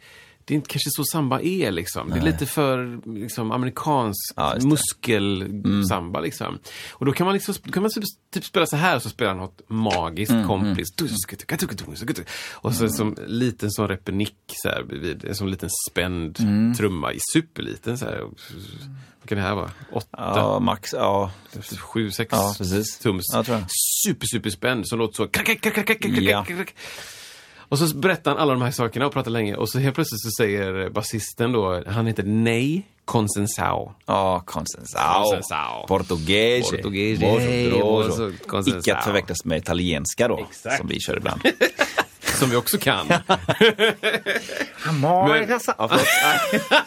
A: det är inte kanske så samba är liksom. Det är lite för liksom, amerikansk
B: Ja, just det.
A: muskelsamba liksom. Och då kan man, liksom, då kan man typ, typ spela så här och så spelar han något magiskt kompis. Och så som liten sån repenick så här vid, en sån liten spänd trumma i superliten så här. Vad kan det här vara? Åtta?
B: Ja, max. Ja,
A: Typ Sju, sex
B: Ja, precis.
A: tums.
B: Ja, tror jag.
A: Super, super spänd som låter så. Krack, krack, krack, krack, krack, krack,
B: Ja.
A: krack. Och så berättar han alla de här sakerna och pratar länge och så helt plötsligt så säger basisten då, han heter Nej Consensao.
B: ja konsensao.
A: Konsensao.
B: Portugese.
A: Portugese.
B: Bordeaux.
A: Och så konsensao.
B: Icke att förväxlas med italienska då,
A: Exakt.
B: som vi kör ibland.
A: Som vi också kan.
B: Ja, förlåt.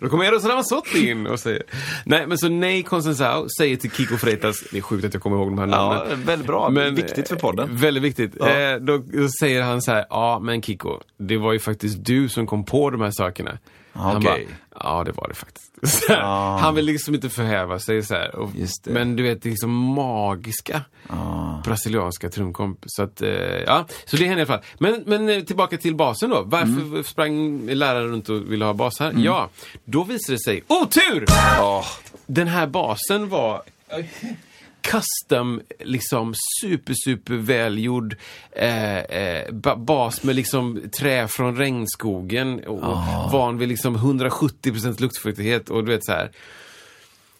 A: Då kommer Eros Ramazzotti in och säger... Nej, men så Nej Consensao säger till Kiko Freitas... Det är sjukt att jag kommer ihåg de här
B: Ja,
A: namnen.
B: väldigt bra. Viktigt för podden.
A: eh, Väldigt viktigt. Eh, då, då säger han så här, ja men Kiko, det var ju faktiskt du som kom på de här sakerna. Han bara,
B: Okej.
A: ja det var det faktiskt. Så här, Han vill liksom inte förhäva sig så här. Och,
B: Just det.
A: Men du vet, det är liksom magiska brasilianska trumkomp. Så, att, eh, ja, så det hände i alla fall. Men, men eh, tillbaka till basen då. Varför sprang läraren runt och ville ha bas här? Ja, då visade det sig, otur!
B: Ja,
A: den här basen var custom, liksom super, super välgjord eh, eh, ba- bas med liksom trä från regnskogen och och van vid liksom 170% luftfuktighet och du vet så här.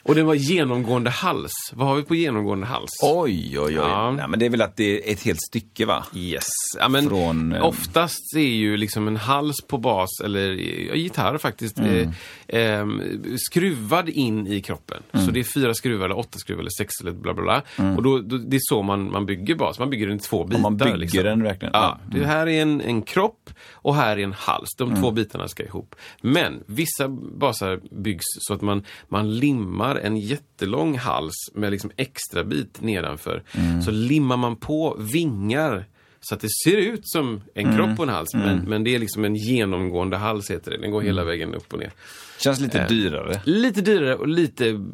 A: Och den var genomgående hals. Vad har vi på genomgående hals?
B: Oj, oj, oj.
A: Ja.
B: Nej, men det är väl att det är ett helt stycke, va?
A: Yes. Ja, men
B: Från, eh,
A: Oftast är ju liksom en hals på bas, eller ja, gitarr faktiskt,
B: Mm.
A: eh, ehm, skruvad in i kroppen.
B: Mm.
A: Så det är fyra skruvar, eller åtta skruvar, eller sex, eller bla bla bla. Och då, då, det är så man, man bygger bas. Man bygger den i två bitar.
B: man bygger
A: liksom.
B: den verkligen. mm.
A: Ja, det här är en, en kropp och här är en hals. De två bitarna ska ihop. Men vissa basar byggs så att man, man limmar en jättelång hals med liksom extra bit nedanför.
B: Mm.
A: Så limmar man på vingar så att det ser ut som en
B: Mm.
A: kropp och en hals. Men, men det är liksom en genomgående hals heter det. Den
B: Mm.
A: går hela vägen upp och ner.
B: Känns
A: Eh.
B: lite dyrare.
A: Lite dyrare och lite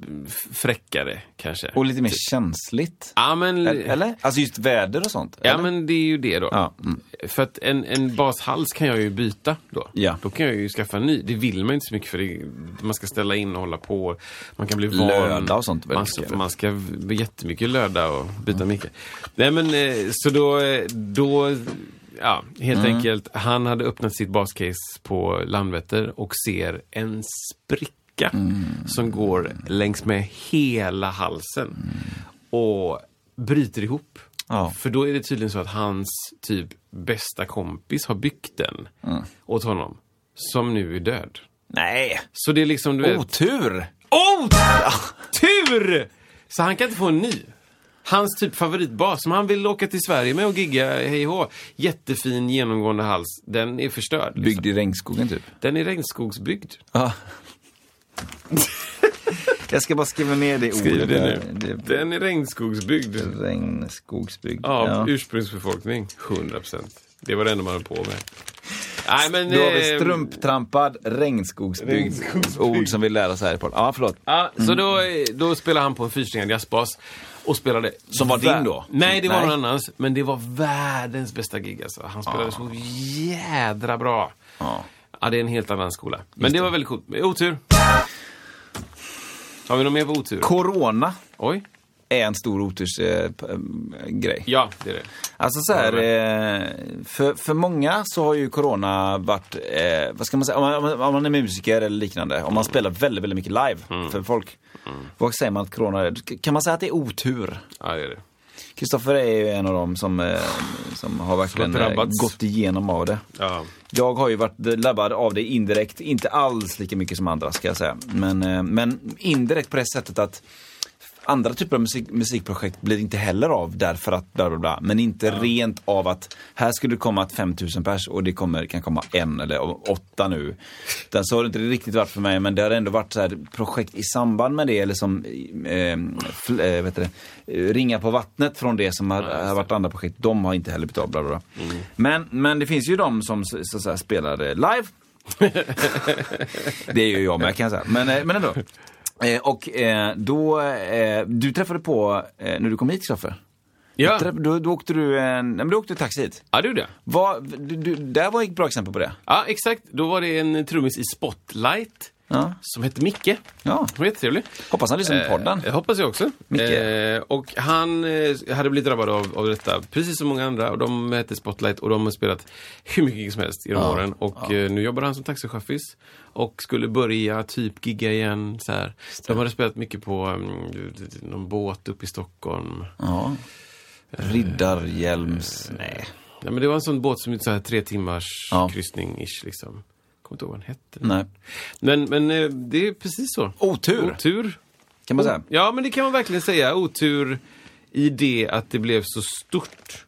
A: fräckare kanske.
B: Och lite mer känsligt.
A: ja, men,
B: Eller? Alltså just väder och sånt.
A: Ja,
B: eller?
A: men det är ju det då.
B: Ja, mm.
A: För att en, en bashals kan jag ju byta då.
B: Ja.
A: Då kan jag ju skaffa en ny. Det vill man ju inte så mycket för det, man ska ställa in och hålla på. Man kan bli van.
B: Löda och sånt väldigt
A: Man, ska-
B: mycket.
A: man ska v- jättemycket löda och byta mycket. Nej, men eh, så då... eh, då Ja, helt
B: Mm.
A: enkelt. Han hade öppnat sitt bascase på Landvetter och ser en spricka
B: Mm.
A: som går längs med hela halsen
B: Mm.
A: och bryter ihop.
B: Ja.
A: För då är det tydligen så att hans typ bästa kompis har byggt den åt honom. Som nu är död.
B: Nej,
A: Så det är liksom, du vet...
B: otur!
A: Oh! Tur! Så han kan inte få en ny. Hans typ favoritbas som han vill åka till Sverige med och gigga hej hå. Jättefin genomgående hals. Den är förstörd. Liksom.
B: Byggd i regnskogen, typ.
A: Den är regnskogsbyggd.
B: Jag ska bara skriva ner det ordet.
A: Skriv det
B: där.
A: nu. Den är regnskogsbyggd.
B: Regnskogsbygd.
A: Av
B: Ja.
A: ursprungsbefolkning. 100%. Det var det enda man höll på med. Nej, men,
B: Då har vi
A: ehm,
B: strumptrampad regnskogsbygd. Ord som vi lär oss här i podden. Ja, förlåt.
A: Ja, Så
B: Mm.
A: då, då spelade han på en fyrsträngad jazzbas och spelade...
B: Som var din då?
A: Nej, det var
B: Nej.
A: någon annans. Men det var världens bästa gig alltså. Han spelade så jädra bra.
B: Ja.
A: Ja, det är en helt annan skola. Men det var väldigt coolt. Otur. Har vi något mer på otur?
B: Corona
A: Oj.
B: är en stor otursgrej. Eh, p- eh, grej.
A: Ja, det är det.
B: Alltså så här, eh, för, för många så har ju corona varit, eh, vad ska man säga, om man, om man- om man är musiker eller liknande, om man spelar väldigt, väldigt mycket live för folk. Vad säger man att corona är? Kan man säga att det är otur?
A: Ja, det är det.
B: Kristoffer är ju en av dem som, eh, som har verkligen
A: Som har
B: eh,
A: drabbats.
B: gått igenom av det.
A: Ja.
B: Jag har ju varit drabbad av det indirekt, inte alls lika mycket som andra ska jag säga. Men, eh, men indirekt på det sättet att Andra typer av musik, musikprojekt blir inte heller av därför att bla bla bla. Men inte rent av att här skulle det komma 5000 pers och det kommer, kan komma en eller åtta nu. Utan så har det inte riktigt varit för mig men det har ändå varit så här projekt i samband med det eller som eh, fl, eh, vet det, eh, ringa på vattnet från det som har, har varit andra projekt. De har inte heller blivit av. Bla bla bla. Men, men det finns ju de som så, så, så här, spelar eh, live det är ju jag med kan jag säga. Men, eh, men ändå. Eh, och eh, då, eh, du träffade på, eh, när du kom hit Kristoffer.
A: Ja,
B: Du träff- Då, då åkte du, en, nej, men du åkte taxi hit.
A: ja du det.
B: Vad- du, du, där var ett bra exempel på det.
A: Ja, exakt. Då var det en trummis i Spotlight
B: Ja.
A: som hette Micke.
B: Ja.
A: Hon var jättetrevlig.
B: Hoppas han lyssnar på podden.
A: Eh, jag hoppas jag också.
B: Micke.
A: Eh, och han eh, hade blivit drabbad av, av detta, precis som många andra. Och de hette Spotlight och de har spelat hur mycket gig som helst genom åren. Och eh, nu jobbar han som taxichauffis och skulle börja typ gigga igen. Så här. De hade spelat mycket på mm, någon båt uppe i Stockholm.
B: Ja. Riddarhjälms,
A: Eh.
B: nej.
A: Ja, men det var en sån båt som är så här tre timmars
B: Ja.
A: kryssning-ish liksom. Kommer inte ihåg vad den hette.
B: nej.
A: Men, men eh, det är precis så.
B: Otur.
A: Otur.
B: Kan man säga.
A: Ja, men det kan man verkligen säga. Otur i det att det blev så stort.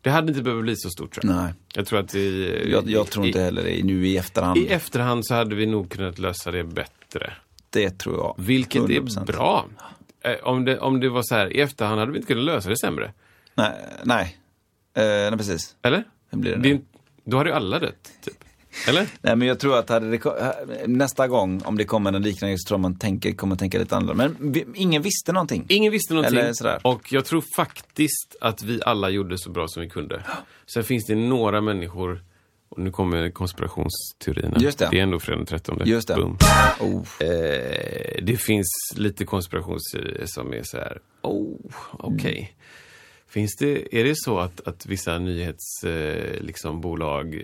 A: Det hade inte behövt bli så stort tror jag.
B: Nej.
A: Jag tror att eh, i,
B: Jag, jag tror inte heller det nu i efterhand.
A: i, i efterhand så hade vi nog kunnat lösa det bättre.
B: det tror jag.
A: Vilket
B: 100%.
A: är bra. Eh, Om det, om det var så här, i efterhand hade vi inte kunnat lösa det sämre.
B: Nej, nej. Eh, nej precis.
A: Eller?
B: Det blir det
A: är
B: nu.
A: inte- då hade ju alla dött, typ. Eller?
B: Nej men jag tror att hade det, ko- eh, nästa gång om det kommer en liknande grej så tror jag man tänker, kommer tänka lite annorlunda. Men vi, ingen visste någonting.
A: Ingen visste någonting.
B: Eller sådär.
A: Och jag tror faktiskt att vi alla gjorde så bra som vi kunde. Sen finns det några människor, och nu kommer konspirationsteorierna.
B: Just det.
A: det är ändå fredag den 13.
B: Just det.
A: Boom.
B: Oh.
A: Eh, det finns lite konspirationsteorier som är så här, oh, okej.
B: Mm.
A: Finns det, är det så att, att vissa nyhetsbolag eh, liksom, bolag,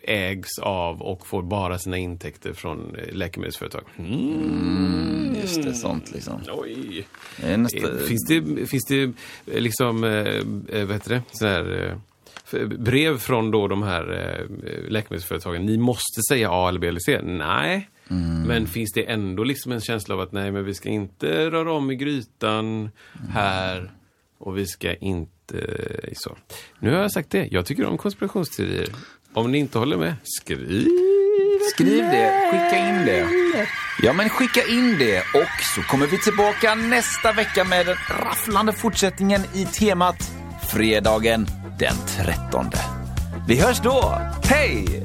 A: eh, ägs av och får bara sina intäkter från eh, läkemedelsföretag? Mm.
B: Just det, sånt liksom.
A: Oj.
B: Det är Nästa,
A: Eh, Finns det, finns det eh, liksom, eh, eh, vad heter det, så här, eh, f- brev från då de här eh, läkemedelsföretagen? Ni måste säga A eller B eller C? Nej. Men finns det ändå liksom en känsla av att nej, men vi ska inte röra om i grytan här och vi ska inte eh, så. Nu har jag sagt det. Jag tycker om konspirationsteorier. Om ni inte håller med, skriv.
B: Skriv det, skicka in det. Ja men skicka in det och så kommer vi tillbaka nästa vecka med den rafflande fortsättningen i temat fredagen den 13. Vi hörs då! Hej!